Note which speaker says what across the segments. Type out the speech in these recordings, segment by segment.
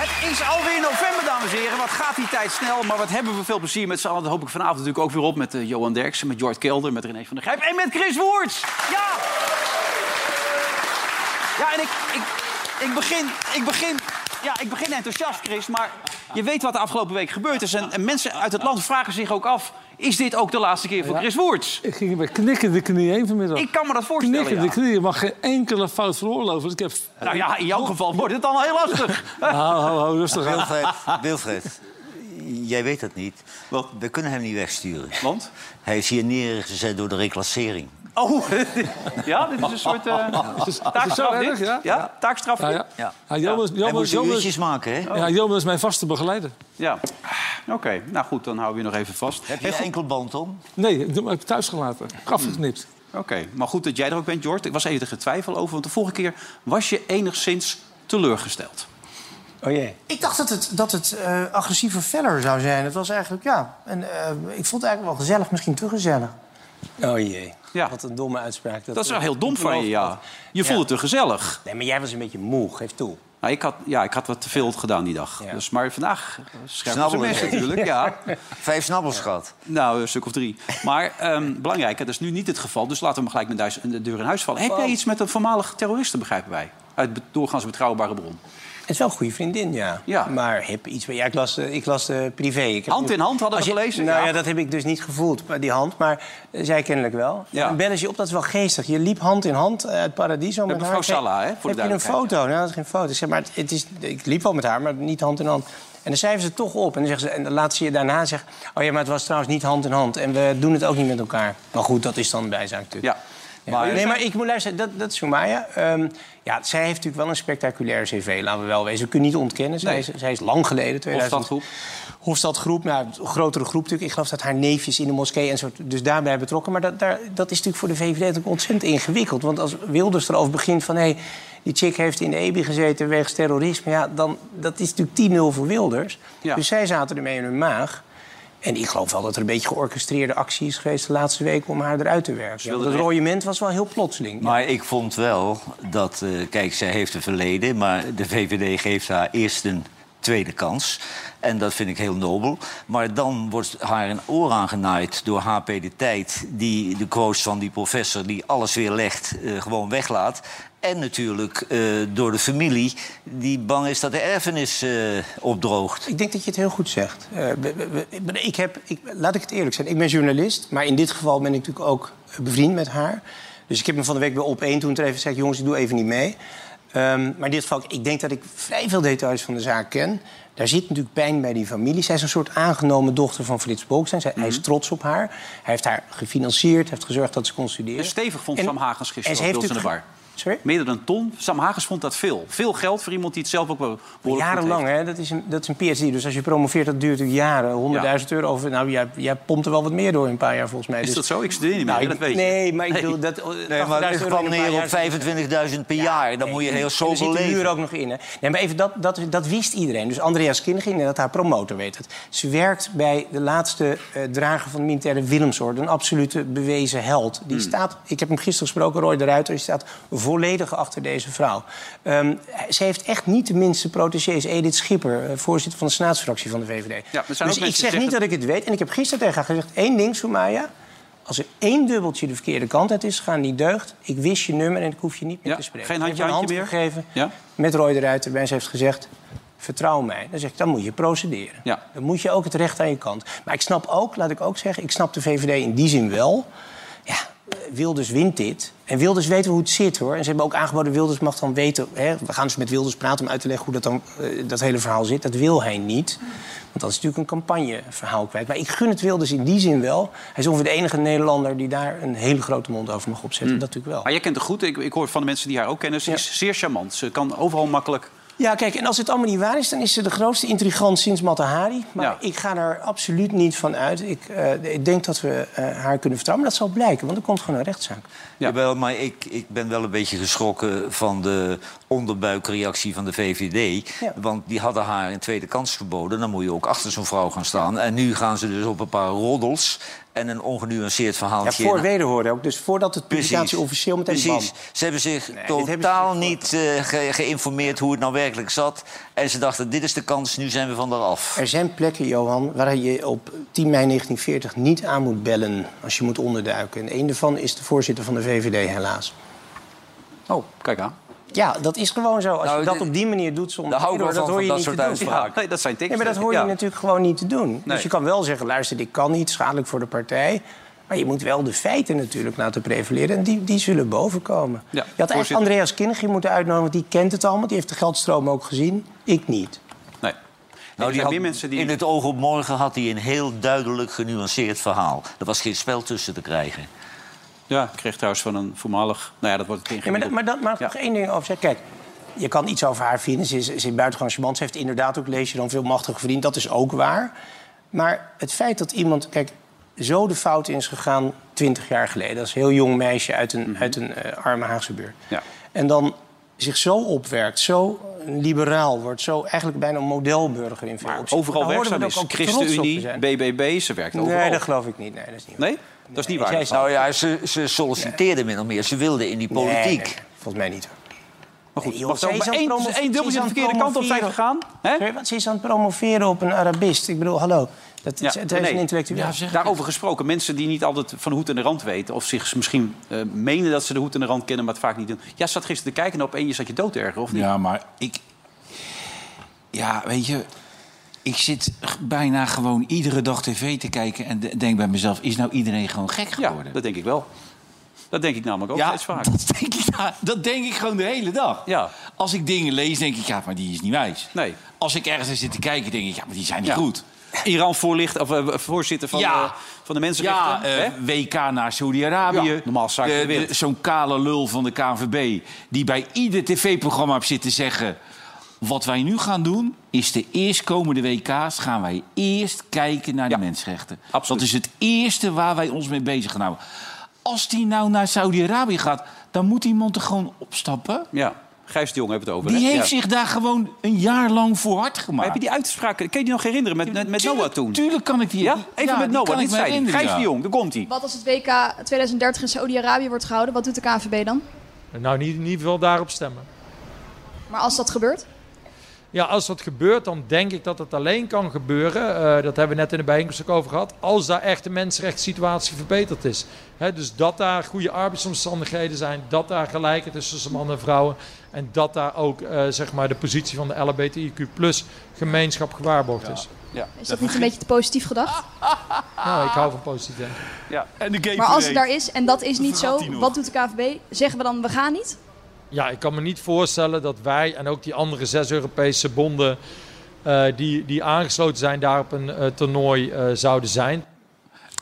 Speaker 1: Het is alweer november, dames en heren. Wat gaat die tijd snel, maar wat hebben we veel plezier met z'n allen. Dat hoop ik vanavond natuurlijk ook weer op met eh, Johan Derksen, met Jort Kelder, met René van der Grijp en met Chris Woerts. Ja! Ja, en ik, ik, ik begin... Ik begin ja, ik begin enthousiast, Chris, maar je weet wat de afgelopen week gebeurd is. En, en mensen uit het land vragen zich ook af... is dit ook de laatste keer voor Chris Woerts?
Speaker 2: Ik ging met knikkende knieën heen vanmiddag.
Speaker 1: Ik kan me dat voorstellen,
Speaker 2: knikkende
Speaker 1: ja.
Speaker 2: knieën mag geen enkele fout veroorloven. Ik heb...
Speaker 1: Nou ja, in jouw geval wordt het al heel lastig.
Speaker 2: Hou, hou, hou, rustig aan.
Speaker 3: Wilfred, Wilfred, jij weet dat niet.
Speaker 1: Wat?
Speaker 3: We kunnen hem niet wegsturen.
Speaker 1: Want?
Speaker 3: Hij is hier neergezet door de reclassering.
Speaker 1: Oh, ja, dit is een soort eh
Speaker 2: Het is, het is zo
Speaker 1: taakstraf dit.
Speaker 2: erg, ja?
Speaker 1: Ja, taakstraf
Speaker 2: Ja,
Speaker 1: dit.
Speaker 2: ja.
Speaker 3: Ja.
Speaker 2: Ja, Johan is-
Speaker 3: Hij
Speaker 2: Johan
Speaker 3: moet
Speaker 2: is-
Speaker 3: de
Speaker 2: Johan is-
Speaker 3: uurtjes maken, hè?
Speaker 2: ja, Johan is mijn vaste begeleider.
Speaker 1: Ja. Oké, nou goed, dan houden we je nog even vast.
Speaker 3: Heb je
Speaker 1: Hey,
Speaker 3: een
Speaker 1: goed-
Speaker 3: enkel band om?
Speaker 2: Nee, ik heb hem thuis gelaten. Afgeknipt.
Speaker 1: Oké, maar goed dat jij er ook bent, Jort. Ik was even tegen twijfel over, want de vorige keer was je enigszins teleurgesteld.
Speaker 4: Oh jee.
Speaker 5: Ik dacht dat het, dat het eh, agressiever feller zou zijn. Het was eigenlijk, ja. En eh, ik vond het eigenlijk wel gezellig, misschien te gezellig.
Speaker 4: Oh jee.
Speaker 1: Ja.
Speaker 4: Wat een domme uitspraak.
Speaker 1: Dat is wel heel dom van je, ja. Je
Speaker 4: Ja.
Speaker 1: voelde het te gezellig.
Speaker 4: Nee, maar jij was een beetje moe, geef toe.
Speaker 1: Nou, ik, had, ja, ik had wat te veel gedaan die dag.
Speaker 4: Ja.
Speaker 1: Dus, maar vandaag eh, schrijven we
Speaker 3: Snabbelen.
Speaker 1: mensen natuurlijk, ja.
Speaker 3: Vijf snabbels gehad.
Speaker 1: Nou, een stuk of drie. Maar ehm belangrijk, dat is nu niet het geval. Dus laten we maar gelijk met duis- de deur in huis vallen. Heb jij iets met een voormalig terroriste, begrijpen wij? Uit be- doorgaans betrouwbare bron.
Speaker 4: Het is wel een goede vriendin, ja.
Speaker 1: Ja.
Speaker 4: Maar hip iets. Ja, ik las, eh, ik las eh, privé. Ik heb
Speaker 1: Hand in hand hadden
Speaker 4: Als
Speaker 1: we
Speaker 4: je-
Speaker 1: gelezen,
Speaker 4: Nou
Speaker 1: ja.
Speaker 4: ja. dat heb ik dus niet gevoeld, maar die hand. Maar eh, zij kennelijk wel.
Speaker 1: Ja.
Speaker 4: Een belletje op, dat is wel geestig. Je liep hand in hand eh, uit Paradiso met,
Speaker 1: mevrouw
Speaker 4: haar.
Speaker 1: Salla, hè, voor de
Speaker 4: Heb je een
Speaker 1: duidelijkheid,
Speaker 4: foto? Nou, dat is geen foto. Ik zeg, maar het- het is, ik liep wel met haar, maar niet hand in hand. En dan schrijven ze het toch op. En dan, zeggen ze, en dan laten ze je daarna zeggen... oh ja, maar het was trouwens niet hand in hand. En we doen het ook niet met elkaar. Maar goed, dat is dan bijzaak natuurlijk.
Speaker 1: Ja.
Speaker 4: Ja,
Speaker 1: Maar-
Speaker 4: nee, maar ik moet luisteren, dat, dat is Soumaya. Ehm, ja, zij heeft natuurlijk wel een spectaculair cv, laten we wel wezen. We kunnen niet ontkennen. Zij,
Speaker 1: Nee.
Speaker 4: is, zij is lang geleden, 2000.
Speaker 1: Hofstadgroep.
Speaker 4: Hofstadgroep, nou, een grotere groep natuurlijk. Ik geloof dat haar neefjes in de moskee en zo, dus daarbij betrokken. Maar dat, daar, dat is natuurlijk voor de VVD natuurlijk ontzettend ingewikkeld. Want als Wilders erover begint van... hé, hey, die chick heeft in de EBI gezeten wegens terrorisme... ja, dan, dat is natuurlijk 10-0 voor Wilders.
Speaker 1: Ja.
Speaker 4: Dus zij zaten ermee in hun maag. En ik geloof wel dat er een beetje georchestreerde actie is geweest de laatste weken om haar eruit te werken.
Speaker 1: wilden
Speaker 4: Want het
Speaker 1: echt-
Speaker 4: rooiement was wel heel plotseling.
Speaker 3: Maar ik vond wel dat... eh, kijk, zij heeft een verleden, maar de VVD geeft haar eerst een tweede kans. En dat vind ik heel nobel. Maar dan wordt haar een oor aangenaaid door HP De Tijd... die de quotes van die professor die alles weer legt, eh, gewoon weglaat. En natuurlijk eh, door de familie die bang is dat de erfenis eh, opdroogt.
Speaker 4: Ik denk dat je het heel goed zegt. Eh, we- we- we- ik heb, ik, laat ik het eerlijk zijn. Ik ben journalist, maar in dit geval ben ik natuurlijk ook eh, bevriend met haar. Dus ik heb me van de week bij op één toen er even gezegd... jongens, ik doe even niet mee. Ehm, maar in dit geval, ik denk dat ik vrij veel details van de zaak ken. Daar zit natuurlijk pijn bij die familie. Zij is een soort aangenomen dochter van Frits Bolkestein. Zij, Hij
Speaker 1: Mhm.
Speaker 4: is trots op haar. Hij heeft haar gefinancierd, heeft gezorgd dat ze kon studeren.
Speaker 1: Dus stevig vond
Speaker 4: En-
Speaker 1: Sam Hagens
Speaker 4: en
Speaker 1: gisteren
Speaker 4: ze
Speaker 1: op
Speaker 4: heeft
Speaker 1: Wils in de bar.
Speaker 4: natuurlijk ge- Sorry?
Speaker 1: Meer dan een ton. Sam Hagens vond dat veel. Veel geld voor iemand die het zelf ook wel behoorlijk goed
Speaker 4: Jarenlang,
Speaker 1: heeft.
Speaker 4: hè? Dat is, een, dat is een PhD. Dus als je promoveert, dat duurt natuurlijk jaren. 100.000 euro. Over, nou, jij, jij pompt er wel wat meer door in een paar jaar, volgens mij.
Speaker 1: Is
Speaker 4: Dus-
Speaker 1: dat zo? Ik studeer niet meer,
Speaker 4: Nou,
Speaker 1: hè,
Speaker 4: ik-
Speaker 1: dat weet je.
Speaker 4: Nee, maar ik bedoel... Dat,
Speaker 3: Nee, maar het
Speaker 4: 80.000
Speaker 3: kwam
Speaker 4: euro in een
Speaker 3: neer
Speaker 4: paar
Speaker 3: op
Speaker 4: jaar is-
Speaker 3: 25.000 per jaar. Dan moet je heel
Speaker 4: En er
Speaker 3: sober
Speaker 4: zit de huur
Speaker 3: leven.
Speaker 4: ook nog in. Hè? Nee, maar even, dat, dat, dat wist iedereen. Dus Andreas Kinnig, inderdaad, haar promotor weet het. Ze werkt bij de laatste eh, drager van de militaire Willemsorde. Een absolute bewezen held. Die staat, ik heb hem gisteren gesproken, Roy de Ruiter. Die staat volledig achter deze vrouw. Ehm, ze heeft echt niet de minste protégés. Edith Schipper, eh, voorzitter van de senaatsfractie van de VVD.
Speaker 1: maar er zijn ook
Speaker 4: dus
Speaker 1: mensen die
Speaker 4: ik zeg
Speaker 1: zeggen-
Speaker 4: niet dat ik het weet. En ik heb gisteren tegen haar gezegd, één ding, Soumaya... Als er één dubbeltje de verkeerde kant uit is gegaan, die deugt. Ik wist je nummer en ik hoef je niet meer
Speaker 1: Ja,
Speaker 4: te spreken.
Speaker 1: geen
Speaker 4: Ze heeft
Speaker 1: handje,
Speaker 4: een hand
Speaker 1: handje meer?
Speaker 4: gegeven
Speaker 1: Ja.
Speaker 4: met Roy de Ruiter. En ze heeft gezegd, vertrouw mij. Dan zeg ik, dan moet je procederen.
Speaker 1: Ja.
Speaker 4: Dan moet je ook het recht aan je kant. Maar ik snap ook, laat ik ook zeggen, ik snap de VVD in die zin wel. Ja, eh, Wilders wint dit. En Wilders weten hoe het zit, hoor. En ze hebben ook aangeboden, Wilders mag dan weten... Hè, we gaan dus met Wilders praten om uit te leggen hoe dat, dan, eh, dat hele verhaal zit. Dat wil hij niet. Want dat is natuurlijk een campagneverhaal kwijt. Maar ik gun het Wilders in die zin wel. Hij is ongeveer de enige Nederlander die daar een hele grote mond over
Speaker 1: Mm.
Speaker 4: mag opzetten. Dat natuurlijk wel.
Speaker 1: Maar jij kent haar goed. Ik, ik hoor van de mensen die haar ook kennen. Ze
Speaker 4: Ja.
Speaker 1: is zeer charmant. Ze kan overal makkelijk
Speaker 4: Ja, kijk, en als het allemaal niet waar is, dan is ze de grootste intrigant sinds Matahari. Maar
Speaker 1: Ja.
Speaker 4: ik ga daar absoluut niet van uit. Ik, eh, ik denk dat we eh, haar kunnen vertrouwen. Maar dat zal blijken, want er komt gewoon een rechtszaak.
Speaker 1: Ja.
Speaker 3: Jawel, maar ik, ik ben wel een beetje geschrokken van de onderbuikreactie van de VVD.
Speaker 4: Ja.
Speaker 3: Want die hadden haar een tweede kans geboden. Dan moet je ook achter zo'n vrouw gaan staan. En nu gaan ze dus op een paar roddels en een ongenuanceerd
Speaker 4: Ja,
Speaker 3: verhaaltje.
Speaker 4: voor wederhoren ook. Dus voordat het publicatie officieel meteen
Speaker 3: nou? Precies.
Speaker 4: bam.
Speaker 3: Ze hebben zich
Speaker 4: dit hebben
Speaker 3: totaal
Speaker 4: ze
Speaker 3: niet eh, ge- geïnformeerd hoe het nou werkelijk zat. En ze dachten, dit is de kans, nu zijn we van daar af.
Speaker 4: Er zijn plekken, Johan, waar je op 10 mei 1940 niet aan moet bellen als je moet onderduiken. En een daarvan is de voorzitter van de VVD, helaas.
Speaker 1: Oh, kijk aan.
Speaker 4: Ja, dat is gewoon zo. Als
Speaker 3: Nou,
Speaker 4: je dat
Speaker 3: dit-
Speaker 4: op die manier doet zonder
Speaker 3: Daar hou ik
Speaker 4: wederhoor,
Speaker 3: wel van, van
Speaker 4: dat
Speaker 3: dat
Speaker 4: hoor je
Speaker 3: soort
Speaker 4: niet te doen.
Speaker 3: uitspraken.
Speaker 1: Ja, nee, dat zijn teksten.
Speaker 4: Nee, maar dat hoor je
Speaker 1: Ja.
Speaker 4: natuurlijk gewoon niet te doen.
Speaker 1: Nee.
Speaker 4: Dus je kan wel zeggen, luister, dit kan niet, schadelijk voor de partij. Maar je moet wel de feiten natuurlijk laten prevaleren. En die, die zullen bovenkomen.
Speaker 1: Ja,
Speaker 4: je had
Speaker 1: voorzitter.
Speaker 4: eigenlijk Andreas Kinnegie moeten uitnodigen, want die kent het allemaal. Die heeft de geldstroom ook gezien. Ik niet.
Speaker 1: Nee.
Speaker 3: Nou,
Speaker 1: er
Speaker 3: die
Speaker 1: zijn
Speaker 3: had-
Speaker 1: meer mensen die...
Speaker 3: In het oog op morgen had hij een heel duidelijk genuanceerd verhaal. Er was geen spel tussen te krijgen.
Speaker 1: Ja, ik kreeg trouwens van een voormalig... Nou ja, dat wordt het
Speaker 4: Ja, maar dat, maar dat mag
Speaker 1: Ja.
Speaker 4: nog één ding over zeggen. Kijk, je kan iets over haar vinden. Ze is, ze is buitengewoon charmant. Ze heeft inderdaad ook, lees je dan, veel machtig verdiend. Dat is ook waar. Maar het feit dat iemand, kijk, zo de fout in is gegaan... twintig jaar geleden, als heel jong meisje uit een, uit een eh, arme Haagse buurt.
Speaker 1: Mhm. Ja.
Speaker 4: En dan zich zo opwerkt, zo liberaal wordt... zo eigenlijk bijna een modelburger in veel opzichten.
Speaker 1: Overal
Speaker 4: Daar horen
Speaker 1: werkzaam
Speaker 4: we
Speaker 1: is.
Speaker 4: dan ook trots op te
Speaker 1: ChristenUnie,
Speaker 4: zijn.
Speaker 1: BBB, ze werkt overal.
Speaker 4: Nee, dat geloof ik niet. Nee, dat is niet waar.
Speaker 1: Nee? Dat is niet
Speaker 4: Nee,
Speaker 1: waar.
Speaker 4: zij is-
Speaker 3: Nou ja, ze, ze solliciteerde min of meer. Ze wilde in die
Speaker 4: Nee,
Speaker 3: politiek.
Speaker 4: nee, volgens mij niet. hoor.
Speaker 1: maar goed,
Speaker 4: nee, joh,
Speaker 1: mag er ook
Speaker 4: zij
Speaker 1: maar
Speaker 4: is aan
Speaker 1: één,
Speaker 4: het promo-
Speaker 1: één
Speaker 4: zij is
Speaker 1: dubbeltje
Speaker 4: aan
Speaker 1: de
Speaker 4: het
Speaker 1: verkeerde kant op zijn
Speaker 4: promoveren.
Speaker 1: gegaan. Hè?
Speaker 4: Sorry, wat? Ze is aan het promoveren op een Arabist. Ik bedoel, hallo. Dat,
Speaker 1: Ja,
Speaker 4: is het is
Speaker 1: nee.
Speaker 4: een intellectueel.
Speaker 2: Ja, zeg.
Speaker 1: Daarover gesproken, mensen die niet altijd van de hoed en de rand weten... of zich misschien eh, menen dat ze de hoed en de rand kennen, maar het vaak niet doen. Jij zat gisteren te kijken en op één je zat je dood te ergeren, of niet?
Speaker 6: Ja, maar ik... Ja, weet je... Ik zit g- bijna gewoon iedere dag tv te kijken en de- denk bij mezelf... is nou iedereen gewoon gek
Speaker 1: Ja,
Speaker 6: geworden?
Speaker 1: dat denk ik wel. Dat denk ik namelijk ook
Speaker 6: Ja,
Speaker 1: steeds vaak.
Speaker 6: dat denk, ik, na- dat denk ik gewoon de hele dag.
Speaker 1: Ja.
Speaker 6: Als ik dingen lees, denk ik, ja, maar die is niet wijs.
Speaker 1: Nee.
Speaker 6: Als ik ergens naar zit te kijken, denk ik, ja, maar die zijn niet
Speaker 1: Ja.
Speaker 6: goed.
Speaker 1: Iran voorlicht, of, eh, voorzitter van,
Speaker 6: Ja.
Speaker 1: de, van de mensenrechten.
Speaker 6: Ja,
Speaker 1: hè?
Speaker 6: eh, WK naar Saudi-Arabië.
Speaker 1: Ja, normaal zaak van de
Speaker 6: De- de-
Speaker 1: wereld.
Speaker 6: Zo'n kale lul van de KNVB... die bij ieder tv-programma op zit te zeggen... wat wij nu gaan doen, is de eerstkomende WK's... gaan wij eerst kijken naar
Speaker 1: Ja,
Speaker 6: de mensenrechten.
Speaker 1: absoluut.
Speaker 6: Dat is het eerste waar wij ons mee bezig gaan houden. Als die nou naar Saudi-Arabië gaat, dan moet iemand er gewoon opstappen.
Speaker 1: ja. Gijs de Jong hebben het over.
Speaker 6: Die
Speaker 1: hè?
Speaker 6: heeft
Speaker 1: Ja.
Speaker 6: zich daar gewoon een jaar lang voor hard
Speaker 1: Maar
Speaker 6: gemaakt.
Speaker 1: heb je die uitspraak, kun je die nog herinneren met, met, met Noah
Speaker 6: Tuurlijk-
Speaker 1: toen?
Speaker 6: Tuurlijk kan ik die...
Speaker 1: Ja?
Speaker 6: die-
Speaker 1: Even
Speaker 6: ja,
Speaker 1: met
Speaker 6: die
Speaker 1: Noah,
Speaker 6: kan ik
Speaker 1: dit
Speaker 6: me
Speaker 1: zei hij.
Speaker 6: herinneren,
Speaker 1: Gijs
Speaker 6: ja.
Speaker 1: de Jong, daar komt hij.
Speaker 7: Wat als het WK 2030 in Saudi-Arabië wordt gehouden? Wat doet de KNVB dan?
Speaker 8: Nou, niet, niet wel daarop stemmen.
Speaker 7: Maar als dat gebeurt?
Speaker 8: Ja, als dat gebeurt, dan denk ik dat het alleen kan gebeuren. eh, dat hebben we net in de bijeenkomst ook over gehad. Als daar echt de mensenrechtssituatie verbeterd is. Hè, dus dat daar goede arbeidsomstandigheden zijn. Dat daar gelijkheid is tussen mannen en vrouwen. En dat daar ook eh, zeg maar de positie van de LHBTIQ gemeenschap gewaarborgd is.
Speaker 7: Is dat niet een beetje te positief gedacht?
Speaker 8: Nou, ik hou van positief denken.
Speaker 7: Maar als het daar is en dat is niet zo, wat doet de KNVB? Zeggen we dan, we gaan niet?
Speaker 8: Ja, ik kan me niet voorstellen dat wij en ook die andere zes Europese bonden... eh, die, die aangesloten zijn, daar op een eh, toernooi eh, zouden zijn.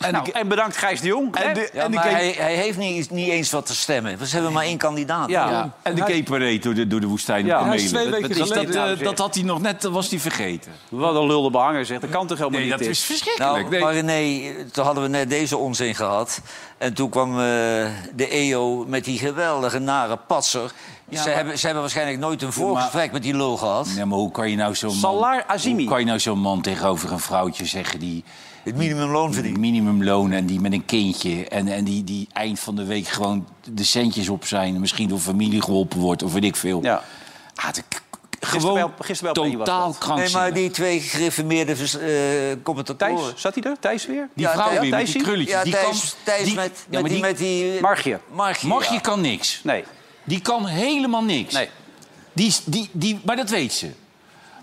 Speaker 1: En, nou, en bedankt Gijs de Jong. hè?
Speaker 3: Ja, maar hij, hij heeft niet, niet eens wat te stemmen. We hebben maar één kandidaat.
Speaker 1: ja.
Speaker 6: En de keeper door de, door de woestijn
Speaker 1: Ja.
Speaker 6: op
Speaker 1: Hij
Speaker 6: een
Speaker 1: is
Speaker 6: mailen.
Speaker 2: twee
Speaker 6: Dat-
Speaker 2: weken
Speaker 6: dat, is
Speaker 2: geleden,
Speaker 6: dat, eh,
Speaker 1: dames en
Speaker 6: dat had hij nog net, eh, was hij vergeten.
Speaker 1: Wat een lulde behanger zegt. Dat kan toch helemaal
Speaker 6: Nee,
Speaker 1: niet
Speaker 6: dat
Speaker 1: dit?
Speaker 6: is verschrikkelijk.
Speaker 3: Nou,
Speaker 6: Nee.
Speaker 3: maar René, toen hadden we net deze onzin gehad. En toen kwam eh, de EO met die geweldige nare patser. ze,
Speaker 6: maar-
Speaker 3: hebben, ze hebben waarschijnlijk nooit een voorgesprek met die lul gehad.
Speaker 6: Nee, maar hoe kan je nou zo'n
Speaker 1: Salar
Speaker 6: man,
Speaker 1: Azimi.
Speaker 6: hoe kan je nou zo'n man tegenover een vrouwtje zeggen die
Speaker 3: Het minimumloon
Speaker 6: die
Speaker 3: verdient.
Speaker 6: minimumloon en die met een kindje en, en die, die eind van de week gewoon de centjes op zijn, misschien door familie geholpen wordt of weet ik veel.
Speaker 1: Ja.
Speaker 6: Ah, de, gewoon
Speaker 1: bij op- gisteren bij op één was
Speaker 6: totaal
Speaker 1: dat.
Speaker 3: Nee,
Speaker 6: krankzinnig.
Speaker 3: maar die twee gereformeerde vers- eh commentatoren.
Speaker 1: Thijs, zat hij er? Thijs weer?
Speaker 6: Die
Speaker 3: Ja,
Speaker 6: vrouw
Speaker 3: Thijs-
Speaker 6: weer met die
Speaker 1: Thijsie?
Speaker 6: krulletjes.
Speaker 3: Ja,
Speaker 6: die
Speaker 3: Thijs,
Speaker 6: kan,
Speaker 3: Thijs
Speaker 6: die-
Speaker 3: met,
Speaker 6: ja,
Speaker 3: met,
Speaker 6: maar
Speaker 3: die, met die...
Speaker 1: Margje.
Speaker 3: Margie,
Speaker 6: Margie
Speaker 3: ja.
Speaker 6: kan niks.
Speaker 1: Nee.
Speaker 6: Die kan helemaal niks.
Speaker 1: Nee.
Speaker 6: Die, is- die, die, maar dat weet ze.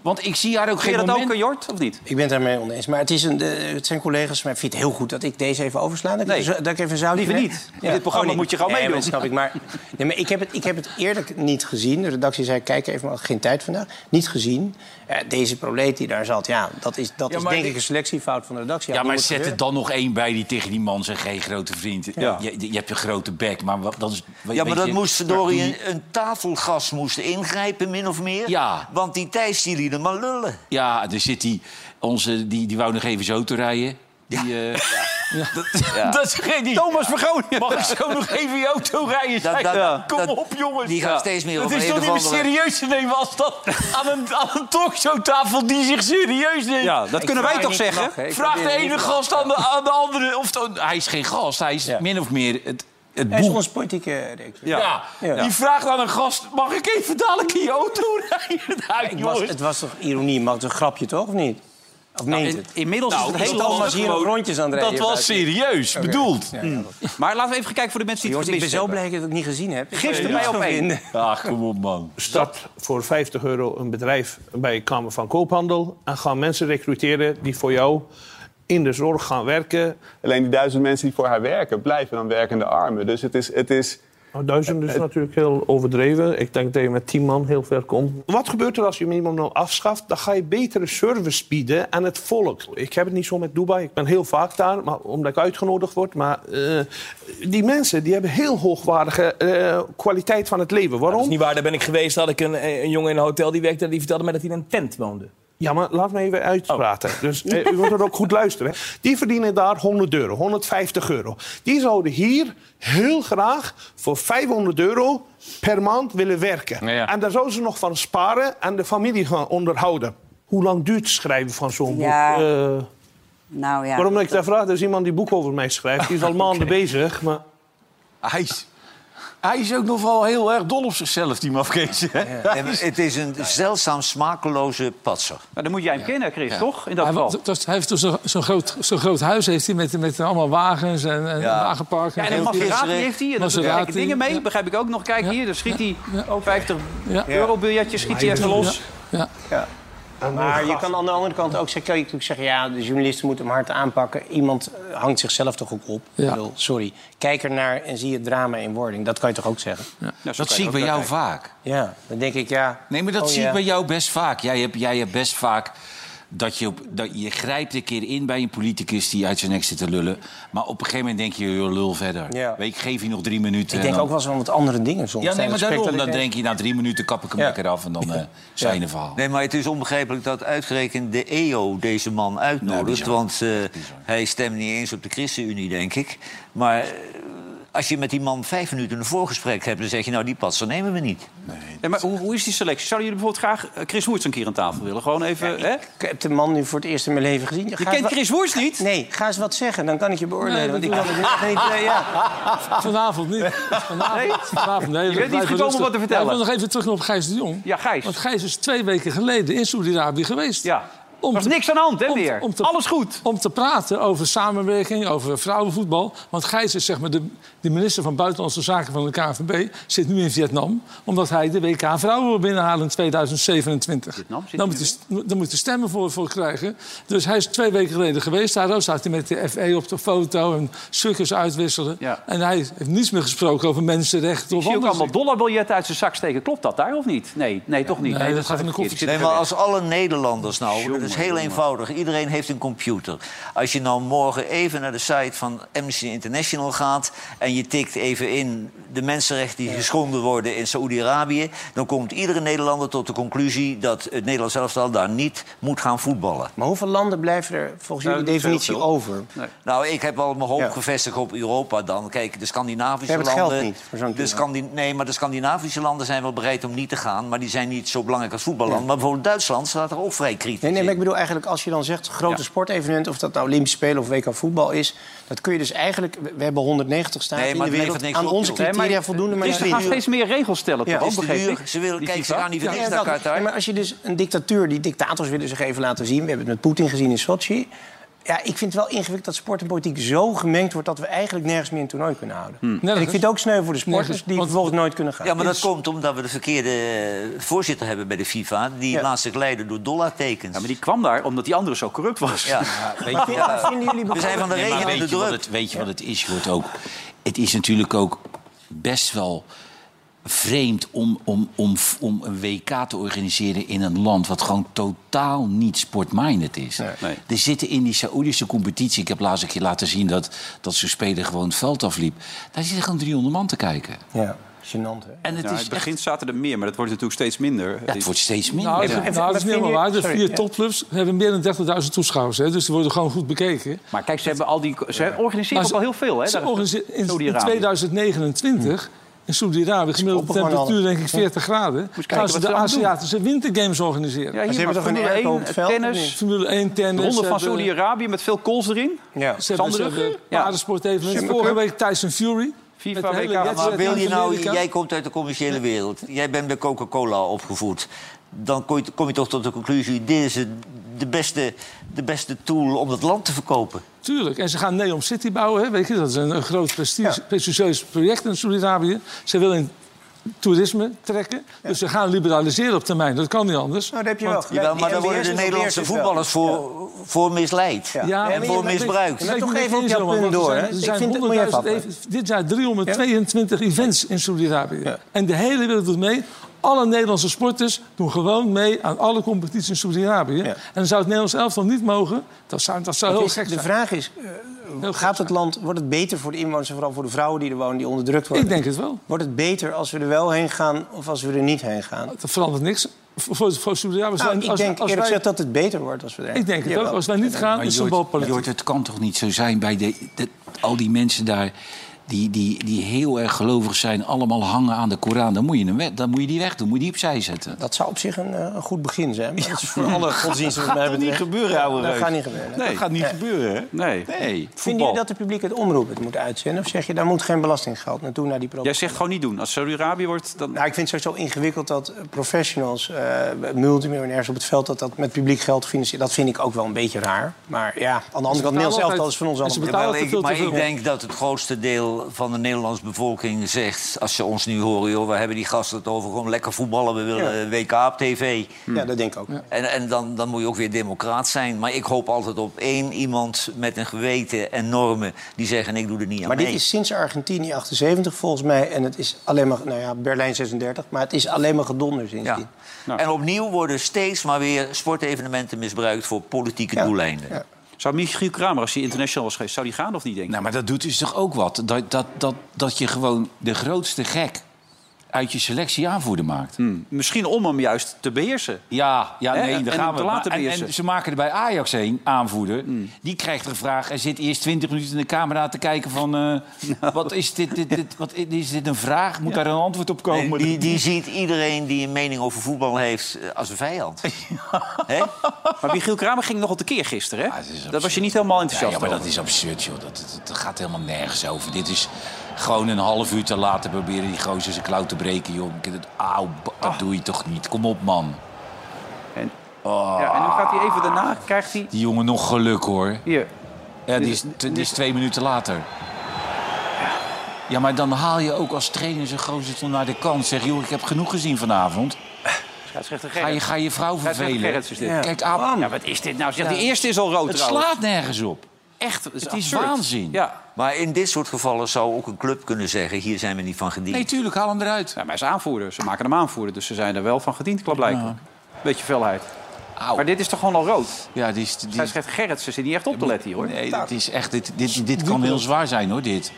Speaker 6: Want ik zie haar ook
Speaker 1: Vind
Speaker 6: geen
Speaker 1: je dat
Speaker 6: moment...
Speaker 1: ook, eh, Jort, of niet?
Speaker 4: Ik ben het daarmee oneens. Maar het, is een, de- het zijn collega's van mij. Vindt het heel goed dat ik deze even oversla? Dat,
Speaker 1: Nee.
Speaker 4: ik, zo- dat ik even een zoutje
Speaker 1: Liever
Speaker 4: leg?
Speaker 1: niet. In dit programma
Speaker 4: nee.
Speaker 1: moet je gewoon
Speaker 4: nee,
Speaker 1: meedoen.
Speaker 4: maar dat snap ik. Maar, nee, maar ik, heb het, ik heb het eerlijk niet gezien. De redactie zei, kijk even, maar geen tijd vandaag. Niet gezien. Ja, deze proleet die daar zat, ja, dat is, dat
Speaker 6: Ja,
Speaker 4: is
Speaker 6: maar
Speaker 4: denk
Speaker 6: dit-
Speaker 4: ik een selectiefout van de redactie.
Speaker 6: Ja,
Speaker 4: dat
Speaker 6: maar
Speaker 4: moet
Speaker 6: zet er
Speaker 4: gebeuren.
Speaker 6: dan nog één bij die tegen die man zegt... geen grote vriend, je, je hebt je grote bek, maar wat, dat is...
Speaker 3: Ja, maar
Speaker 6: weet
Speaker 3: dat
Speaker 6: je-
Speaker 3: moest verdorie
Speaker 6: die-
Speaker 3: een, een tafelgas moest ingrijpen, min of meer.
Speaker 6: Ja.
Speaker 3: Want die Thijs die liet hem maar lullen.
Speaker 6: Ja, er zit die, onze, die, die wou nog even zo te rijden. Die, eh, Dat, dat ging niet.
Speaker 1: Thomas van Groningen.
Speaker 6: Mag ik zo nog even je auto rijden?
Speaker 3: Dat-
Speaker 6: Zei
Speaker 3: dat-
Speaker 6: hij,
Speaker 3: ja.
Speaker 6: Kom
Speaker 3: dat-
Speaker 6: op, jongens.
Speaker 3: die gaan steeds meer
Speaker 6: Het
Speaker 3: op
Speaker 6: is
Speaker 3: een
Speaker 6: toch niet
Speaker 3: of
Speaker 6: meer
Speaker 3: andere-
Speaker 6: serieus te nemen als dat aan een, aan een talkshowtafel die zich serieus neemt.
Speaker 1: Ja, dat kunnen wij toch zeggen?
Speaker 6: Vraag de ene gast aan de, aan de andere. Of de- hij is geen gast, hij is min of meer het, het
Speaker 4: Hij is
Speaker 6: boek.
Speaker 4: ons politieke redacteur.
Speaker 6: Ja.
Speaker 4: Ja.
Speaker 6: Die vraagt aan een gast: mag ik even dadelijk in je auto rijden? Nou,
Speaker 4: Het was,
Speaker 6: jongens.
Speaker 4: het was toch ironie, maar het was een grapje toch, of niet? Of
Speaker 6: Nou,
Speaker 4: meent
Speaker 1: In-
Speaker 4: het?
Speaker 1: Inmiddels
Speaker 3: Nou,
Speaker 1: is het
Speaker 4: Hey,
Speaker 1: heel
Speaker 4: Thomas
Speaker 1: anders.
Speaker 4: hier ook rondjes aan het
Speaker 6: dat
Speaker 4: rijden.
Speaker 6: was serieus bedoeld.
Speaker 1: Maar laten we even gaan kijken voor de mensen die het
Speaker 4: Jongens, ik ben
Speaker 1: gemist
Speaker 4: zo
Speaker 1: hebben.
Speaker 4: blij dat ik het niet gezien heb. Ik
Speaker 1: Gisteren
Speaker 4: kan er
Speaker 1: bij
Speaker 4: niks van
Speaker 1: Op één.
Speaker 4: vinden.
Speaker 6: Ach, kom op, man.
Speaker 9: Start voor 50 euro een bedrijf bij de Kamer van Koophandel. En gaan mensen recruteren die voor jou in de zorg gaan werken.
Speaker 10: Alleen die duizend mensen die voor haar werken, blijven dan werkende armen. Dus het is, het is
Speaker 9: Nou, duizend
Speaker 2: Eh,
Speaker 9: is natuurlijk heel overdreven. Ik denk dat je met tien man heel ver komt. Wat gebeurt er als je minimumloon afschaft? Dan ga je betere service bieden aan het volk. Ik heb het niet zo met Dubai. Ik ben heel vaak daar, maar omdat ik uitgenodigd word. Maar eh, die mensen die hebben heel hoogwaardige eh, kwaliteit van het leven. Waarom?
Speaker 11: Niet waar, daar ben ik geweest. Had ik een, een jongen in een hotel die werkte. Die vertelde mij dat hij in een tent woonde.
Speaker 1: Nou,
Speaker 9: Ja, maar laat me even uitpraten.
Speaker 1: Oh.
Speaker 9: Dus eh, u moet er ook goed luisteren. hè. Die verdienen daar 100 euro, 150 euro. Die zouden hier heel graag voor 500 euro per maand willen werken.
Speaker 6: ja.
Speaker 9: En daar zouden ze nog van sparen en de familie gaan onderhouden. Hoe lang duurt het schrijven van zo'n
Speaker 12: Ja.
Speaker 9: boek? Eh,
Speaker 12: Nou ja.
Speaker 9: waarom ik daar vraag? Er is iemand die boek over mij schrijft.
Speaker 1: Ah,
Speaker 9: Die is al maanden bezig. Maar
Speaker 6: Hij is, hij is ook nog wel heel erg dol op zichzelf, die mafkees. hè?
Speaker 3: En het is een zeldzaam smakeloze patser.
Speaker 1: Maar dan moet jij hem kennen, Chris, toch? In dat
Speaker 2: Hij, wa-
Speaker 1: geval.
Speaker 2: dat- hij heeft toch zo- zo'n groot, zo'n groot huis heeft hij met, met allemaal wagens en, en wagenpark.
Speaker 1: Ja, en een Maserati heeft hij. En daar doet hij gekke
Speaker 2: Maserati,
Speaker 1: dingen mee.
Speaker 2: ja.
Speaker 1: Begrijp ik ook nog. Kijk hier, dan schiet hij ook 50
Speaker 2: Ja.
Speaker 1: euro biljetjes schiet hij even los.
Speaker 2: Ja.
Speaker 4: Maar je kan aan de andere kant ook zeggen, kan je natuurlijk zeggen... ja, de journalisten moeten hem hard aanpakken. Iemand eh, hangt zichzelf toch ook op?
Speaker 2: Ja.
Speaker 4: Ik bedoel, sorry. Kijk ernaar en zie het drama in wording. Dat kan je toch ook zeggen?
Speaker 6: dat zie ik bij jou vaak.
Speaker 4: Ja, dan denk ik, ja...
Speaker 6: Nee, maar dat
Speaker 4: oh
Speaker 6: zie
Speaker 4: ja.
Speaker 6: ik bij jou best vaak. Jij hebt, jij hebt best vaak dat je, op, dat je grijpt een keer in bij een politicus die uit zijn nek zit te lullen. Maar op een gegeven moment denk je, joh, lul verder.
Speaker 4: Ja.
Speaker 6: Weet, ik geef je nog drie minuten.
Speaker 4: Ik denk
Speaker 6: en dan-
Speaker 4: ook wel eens aan wat andere dingen soms.
Speaker 6: Ja, nee, maar
Speaker 4: tijdens gesprek
Speaker 6: daarom.
Speaker 4: dat
Speaker 6: Dan
Speaker 4: ik
Speaker 6: denk je, na drie minuten kap ik hem
Speaker 4: Ja.
Speaker 6: lekker af en dan eh zijn de verhaal.
Speaker 3: Nee, maar het is onbegrijpelijk dat uitgerekend de EO deze man uitnodigt. want eh, hij stemt niet eens op de ChristenUnie, denk ik. Maar eh, als je met die man vijf minuten een voorgesprek hebt... dan zeg je, nou, die patser nemen we niet.
Speaker 1: Ja, maar hoe, hoe is die selectie? Zouden jullie bijvoorbeeld graag eh, Chris Woerts een keer aan tafel willen? Gewoon even, hè?
Speaker 4: Ik heb de man nu voor het eerst in mijn leven gezien.
Speaker 1: Je kent Chris Woerts niet?
Speaker 4: Nee, ga eens wat zeggen, dan kan ik je beoordelen.
Speaker 2: Nee,
Speaker 4: want ik
Speaker 2: dat
Speaker 4: kan het nu nog niet... eh, ja.
Speaker 2: Vanavond niet. Vanavond,
Speaker 1: Nee?
Speaker 2: vanavond, nee,
Speaker 1: Je bent
Speaker 2: blijf
Speaker 1: niet gekomen om
Speaker 2: rustig.
Speaker 1: wat te vertellen.
Speaker 2: Ja, ik wil nog even terug op Gijs de Jong.
Speaker 1: Ja, Gijs.
Speaker 2: Want Gijs is twee weken geleden in Saudi-Arabië geweest.
Speaker 1: Ja.
Speaker 2: Om
Speaker 1: was
Speaker 2: te-
Speaker 1: niks aan de hand, hè,
Speaker 2: om te-
Speaker 1: weer?
Speaker 2: om te-
Speaker 1: Alles goed.
Speaker 2: om te praten over samenwerking, over vrouwenvoetbal. Want Gijs is zeg maar de, de minister van Buitenlandse Zaken van de KNVB... zit nu in Vietnam, omdat hij de WK Vrouwen wil binnenhalen in 2027.
Speaker 1: Vietnam zit
Speaker 2: dan,
Speaker 1: hij
Speaker 2: moet hij, st- dan moet hij stemmen voor, voor krijgen. Dus hij is twee weken geleden geweest. Daar ook staat hij met de FE op de foto en sukkers uitwisselen.
Speaker 1: Ja.
Speaker 2: En hij heeft niets meer gesproken over mensenrechten
Speaker 1: Ik
Speaker 2: of
Speaker 1: zie ook
Speaker 2: anders.
Speaker 1: allemaal dollarbiljetten uit zijn zak steken. Klopt dat daar of niet? Nee, nee toch niet.
Speaker 2: Nee, dat gaat in de
Speaker 1: verkeerd.
Speaker 2: koffertje.
Speaker 1: Ik
Speaker 3: Nee,
Speaker 1: zit
Speaker 3: maar
Speaker 1: er
Speaker 3: als alle Nederlanders nou, dat is heel eenvoudig. Iedereen heeft een computer. Als je nou morgen even naar de site van Amnesty International gaat en je tikt even in de mensenrechten die geschonden worden in Saoedi-Arabië, dan komt iedere Nederlander tot de conclusie dat het Nederlands elftal daar niet moet gaan voetballen.
Speaker 4: Maar hoeveel landen blijven er volgens jullie
Speaker 1: niet heel
Speaker 4: definitie
Speaker 1: veel.
Speaker 4: over?
Speaker 3: Nou, ik heb al mijn hoop
Speaker 4: Ja.
Speaker 3: gevestigd op Europa dan. Kijk, de Scandinavische
Speaker 4: We hebben het geld
Speaker 3: landen.
Speaker 4: niet voor zo'n
Speaker 3: de
Speaker 4: toernooi.
Speaker 3: Scandi- nee, maar de Scandinavische landen zijn wel bereid om niet te gaan, maar die zijn niet zo belangrijk als voetballand. Maar bijvoorbeeld Duitsland staat er ook vrij kritisch.
Speaker 4: Nee, nee,
Speaker 3: in.
Speaker 4: maar ik bedoel eigenlijk als je dan zegt grote sportevenementen... of dat nou Olympische Spelen of WK voetbal is... dat kun je dus eigenlijk... We we hebben 190 staten
Speaker 3: Nee,
Speaker 4: in
Speaker 3: maar
Speaker 4: de
Speaker 3: het levert
Speaker 4: wereld
Speaker 3: niks
Speaker 4: aan
Speaker 3: op,
Speaker 4: onze
Speaker 3: joh. Nee,
Speaker 1: maar-
Speaker 4: criteria voldoende... maar
Speaker 1: Ze
Speaker 4: je-
Speaker 1: gaan steeds meer regels stellen,
Speaker 4: Ja.
Speaker 1: toch?
Speaker 3: Het is te
Speaker 1: begreep
Speaker 3: duur.
Speaker 1: ik?
Speaker 3: Ze willen,
Speaker 1: Die
Speaker 3: kijk, ze
Speaker 1: FIFA.
Speaker 3: gaan niet voor
Speaker 4: Ja,
Speaker 3: niks
Speaker 4: ja,
Speaker 3: naar
Speaker 4: dat.
Speaker 3: Qatar.
Speaker 4: Ja, maar als je dus een dictatuur, die dictators willen zich even laten zien. We hebben het met Poetin gezien in Sochi. Ja, ik vind het wel ingewikkeld dat sport en politiek zo gemengd wordt... dat we eigenlijk nergens meer een toernooi kunnen houden. En ik
Speaker 2: Hmm. Nergens.
Speaker 4: vind het ook sneu voor de sporters
Speaker 2: Nergens.
Speaker 4: die
Speaker 2: Want-
Speaker 4: vervolgens nooit kunnen gaan.
Speaker 3: Ja, maar dat komt omdat we de verkeerde eh, voorzitter hebben bij de FIFA. Die
Speaker 4: Ja.
Speaker 3: laat zich leiden door dollartekens.
Speaker 1: Ja, maar die kwam daar omdat die andere zo corrupt was.
Speaker 3: Ja.
Speaker 4: Maar vind- maar vinden jullie
Speaker 3: We zijn van de
Speaker 6: Nee, maar
Speaker 3: regen in de
Speaker 6: weet je, wat
Speaker 3: druk.
Speaker 6: het, weet je wat het is, wordt ook? Het is natuurlijk ook best wel vreemd om, om, om, om een WK te organiseren in een land wat gewoon totaal niet sportminded is. Er zitten in die Saoedische competitie, ik heb laatst een keer laten zien dat, dat zo'n speler gewoon het veld afliep. Daar zitten gewoon 300 man te kijken.
Speaker 4: Ja, gênant hè?
Speaker 1: En
Speaker 6: het
Speaker 1: het,
Speaker 6: is
Speaker 1: begint zaten er meer, maar dat wordt natuurlijk steeds minder.
Speaker 6: het wordt steeds
Speaker 2: Nou, dat, nou, dat is niet helemaal waar. De vier topclubs hebben meer dan 30.000 toeschouwers. Hè, dus die worden gewoon goed bekeken.
Speaker 1: Maar kijk, ze hebben al die. Ze organiseren ook al heel veel, hè?
Speaker 2: Ze
Speaker 1: daar-
Speaker 2: organiseren in, in
Speaker 1: Saudi-Arabië.
Speaker 2: 2029 in Saudi-Arabië, gemiddelde
Speaker 1: Opgevangen
Speaker 2: temperatuur
Speaker 1: alles.
Speaker 2: denk ik 40 graden,
Speaker 1: Moet je kijken
Speaker 2: gaan ze
Speaker 1: wat
Speaker 2: de
Speaker 1: ze allemaal doen.
Speaker 2: Aziatische wintergames organiseren.
Speaker 1: Ja, hier, Ze hebben maar toch een Formule airco op het 1, veld, tennis, of niet?
Speaker 2: Formule 1, tennis.
Speaker 1: Ronde
Speaker 2: ze
Speaker 1: van
Speaker 2: hebben-
Speaker 1: Saudi-Arabië met veel kools erin.
Speaker 4: Ja.
Speaker 2: Ze hebben, ze hebben paardensport evenement.
Speaker 1: Supercup.
Speaker 2: Vorige week Tyson Fury.
Speaker 1: FIFA
Speaker 2: met de hele
Speaker 1: WK.
Speaker 2: wedstrijd
Speaker 3: Maar wil je
Speaker 2: in
Speaker 3: nou,
Speaker 2: Amerika.
Speaker 3: jij komt uit de commerciële wereld. Jij bent bij Coca-Cola opgevoed. Dan kom je, kom je toch tot de conclusie... dit is het- de beste, de beste tool om dat land te verkopen.
Speaker 2: Tuurlijk. En ze gaan Neom City bouwen. Hè? Weet je, dat is een, een groot prestige, prestigieus project in Saudi-Arabië. Ze willen in toerisme trekken. Dus ze gaan liberaliseren op termijn. Dat kan niet anders. Nou,
Speaker 4: heb je
Speaker 2: Want,
Speaker 3: Jawel, maar daar worden de Nederlandse voetballers voor, voor misleid.
Speaker 2: Ja,
Speaker 3: en
Speaker 2: maar
Speaker 3: voor
Speaker 2: je-
Speaker 3: misbruikt.
Speaker 2: weet- weet niet eens helemaal, want er zijn- Er zijn 100.000 even- dit jaar 322 events in Saudi-Arabië. En de hele wereld doet mee. Alle Nederlandse sporters doen gewoon mee aan alle competities in Saudi-Arabië. En dan zou het Nederlands elftal niet mogen. Dat zou, dat zou
Speaker 4: Het
Speaker 2: heel
Speaker 4: is-
Speaker 2: gek
Speaker 4: de
Speaker 2: zijn.
Speaker 4: vraag is, eh, gaat het land, wordt het beter voor de inwoners... en vooral voor de vrouwen die er wonen, die onderdrukt worden?
Speaker 2: Ik denk het wel.
Speaker 4: Wordt het beter als we er wel heen gaan of als we er niet heen gaan?
Speaker 2: Dat verandert niks. Voor, voor, voor Saudi-Arabië.
Speaker 4: Nou,
Speaker 2: Als-
Speaker 4: ik
Speaker 2: als- als
Speaker 4: denk eerlijk
Speaker 2: wij-
Speaker 4: gezegd dat het beter wordt als we er heen
Speaker 2: Ik denk het
Speaker 4: Jawel.
Speaker 2: ook. Als wij niet gaan, is het
Speaker 6: Jort,
Speaker 2: balpolitiek.
Speaker 6: Jort, het kan toch niet zo zijn bij de, de- al die mensen daar... Die, die, die heel erg gelovig zijn, allemaal hangen aan de Koran. Dan moet je, hem weg, dan moet je die weg doen, moet je die opzij zetten.
Speaker 4: Dat zou op zich een, eh, een goed begin zijn. Maar dat is voor alle godsdiensten
Speaker 6: Gaat
Speaker 4: wat mij
Speaker 6: toch
Speaker 4: betreft.
Speaker 6: niet gebeuren, ouwe
Speaker 4: Dat
Speaker 6: reus?
Speaker 4: gaat niet gebeuren.
Speaker 6: Nee. Dat gaat niet
Speaker 4: gebeuren, hè?
Speaker 1: Nee.
Speaker 6: Nee.
Speaker 4: Vinden jullie dat de publieke omroep het moet uitzenden? Of zeg je, daar moet geen belastinggeld naartoe naar die
Speaker 1: Jij
Speaker 4: programma's?
Speaker 1: zegt gewoon niet doen. Als Saudi-Arabië wordt, dan...
Speaker 4: Nou, ik vind het sowieso ingewikkeld dat eh, professionals, eh, multimiljonairs op het veld... dat dat met publiek geld financieren. Dat vind ik ook wel een beetje raar. Maar ja, aan de andere kant, Nederlands elftal is van ons allemaal...
Speaker 3: Jawel, ik- maar ik denk dat het grootste deel van de Nederlandse bevolking zegt... als ze ons nu horen, joh, we hebben die gasten het over gewoon lekker voetballen. We willen WK op tv.
Speaker 4: Ja, dat denk ik ook.
Speaker 3: En, en dan, dan moet je ook weer democraat zijn. Maar ik hoop altijd op één iemand met een geweten en normen... die zeggen, ik doe er niet aan
Speaker 4: Maar
Speaker 3: mee.
Speaker 4: dit is sinds Argentinië 78 volgens mij. En het is alleen maar, nou ja, Berlijn 36. Maar het is alleen maar gedonder sindsdien.
Speaker 3: Ja.
Speaker 4: Nou.
Speaker 3: En opnieuw worden steeds maar weer sportevenementen misbruikt... voor politieke doeleinden.
Speaker 1: Zou Michiel Kramer, als hij international was geweest, zou die gaan of niet, denk je?
Speaker 6: Nou, maar dat doet dus toch ook wat? Dat, dat, dat, dat je gewoon de grootste gek uit je selectie aanvoerder maakt.
Speaker 1: Misschien om hem juist te beheersen.
Speaker 6: Ja, ja
Speaker 1: Hè?
Speaker 6: nee, daar
Speaker 1: En
Speaker 6: gaan
Speaker 1: om
Speaker 6: we.
Speaker 1: te laten
Speaker 6: Maar- en- en,
Speaker 1: beheersen.
Speaker 6: ze maken er bij Ajax heen, aanvoerder. Die krijgt de vraag, hij zit eerst 20 minuten in de camera te kijken van... eh, wat, is dit, dit, dit, wat is dit een vraag? Moet daar een antwoord op komen?
Speaker 3: Nee, die, die ziet iedereen die een mening over voetbal heeft eh, als een vijand. Hè?
Speaker 1: Maar Michiel Kramer ging nogal tekeer gisteren, hè? dat was je niet helemaal
Speaker 6: Ja,
Speaker 1: enthousiast
Speaker 6: ja, maar dat
Speaker 1: over.
Speaker 6: is absurd, joh. Dat, dat, dat gaat helemaal nergens over. Dit is gewoon een half uur te laten proberen die gozer zijn klauw te breken, joh. Ik- Dat, auw, b- dat
Speaker 1: Ah.
Speaker 6: doe je toch niet? Kom op, man.
Speaker 1: En,
Speaker 6: oh,
Speaker 1: Ja, en dan gaat hij even daarna, krijgt hij...
Speaker 6: Die jongen nog geluk, hoor.
Speaker 1: Hier.
Speaker 6: Ja, die is, die is twee minuten later. Ja, maar dan haal je ook als trainer zo'n gozer toen naar de kant. Zeg, joh, ik heb genoeg gezien vanavond.
Speaker 1: Scheidsrechter
Speaker 6: Ga je,
Speaker 1: Gerrits.
Speaker 6: ga je vrouw
Speaker 1: Scheidsrechter
Speaker 6: vervelen.
Speaker 1: Gerrits is dus dit.
Speaker 6: Ja. Kijk, Aap,
Speaker 1: Ja, wat is dit nou? Zeg, die eerste is al rood
Speaker 6: het
Speaker 1: trouwens.
Speaker 6: slaat nergens op.
Speaker 1: Echt, het is,
Speaker 6: Het is
Speaker 1: absurd.
Speaker 6: waanzin.
Speaker 1: Ja.
Speaker 3: Maar in dit soort gevallen zou ook een club kunnen zeggen... hier zijn we niet van gediend.
Speaker 6: Nee, tuurlijk, haal hem eruit.
Speaker 1: ja, maar hij is aanvoerder. Ze maken hem aanvoerder, dus ze zijn er wel van gediend, blijkbaar. Beetje felheid. Maar dit is toch gewoon al rood?
Speaker 6: Ja, die, is- die,
Speaker 1: Hij schrijft Gerrits, ze zit niet echt op te letten hier, hoor.
Speaker 6: Nee, dit is echt, dit, dit, dit kan heel zwaar zijn, hoor, dit.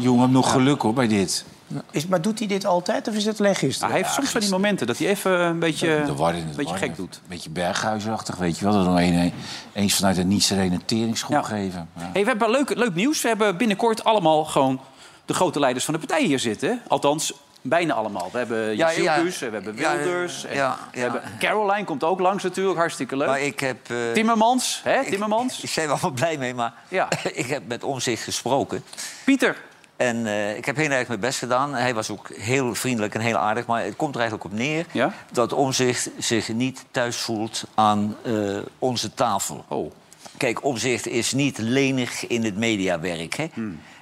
Speaker 6: Jongen, nog geluk, hoor, bij dit.
Speaker 4: Is, maar doet hij dit altijd of is het alleen gisteren?
Speaker 1: Nou, hij heeft soms van die momenten dat hij even een beetje,
Speaker 6: De war in het
Speaker 1: een beetje
Speaker 6: war,
Speaker 1: gek doet.
Speaker 6: Een beetje berghuisachtig, weet je wel. Dat dan een, eens vanuit een niet-serene teringschop geven. Ja.
Speaker 1: Hey, we hebben leuk, leuk nieuws. We hebben binnenkort allemaal gewoon de grote leiders van de partijen hier zitten. Althans, bijna allemaal. We hebben
Speaker 3: Ja,
Speaker 1: Jacques,
Speaker 3: ja.
Speaker 1: we hebben
Speaker 3: Ja,
Speaker 1: Wilders. en
Speaker 3: ja,
Speaker 1: we
Speaker 3: ja.
Speaker 1: hebben Caroline komt ook langs natuurlijk, hartstikke leuk.
Speaker 3: Maar ik heb... eh,
Speaker 1: Timmermans, hè, Timmermans.
Speaker 3: Ik zijn er wel blij mee, maar
Speaker 1: Ja.
Speaker 3: ik heb met Omzicht gesproken.
Speaker 1: Pieter.
Speaker 3: En eh, ik heb heel erg mijn best gedaan. Hij was ook heel vriendelijk en heel aardig. Maar het komt er eigenlijk op neer
Speaker 1: Ja?
Speaker 3: dat Omzicht zich niet thuis voelt aan eh, onze tafel.
Speaker 1: Oh. Hmm.
Speaker 3: Kijk, Omzicht is niet lenig in het mediawerk. Hè?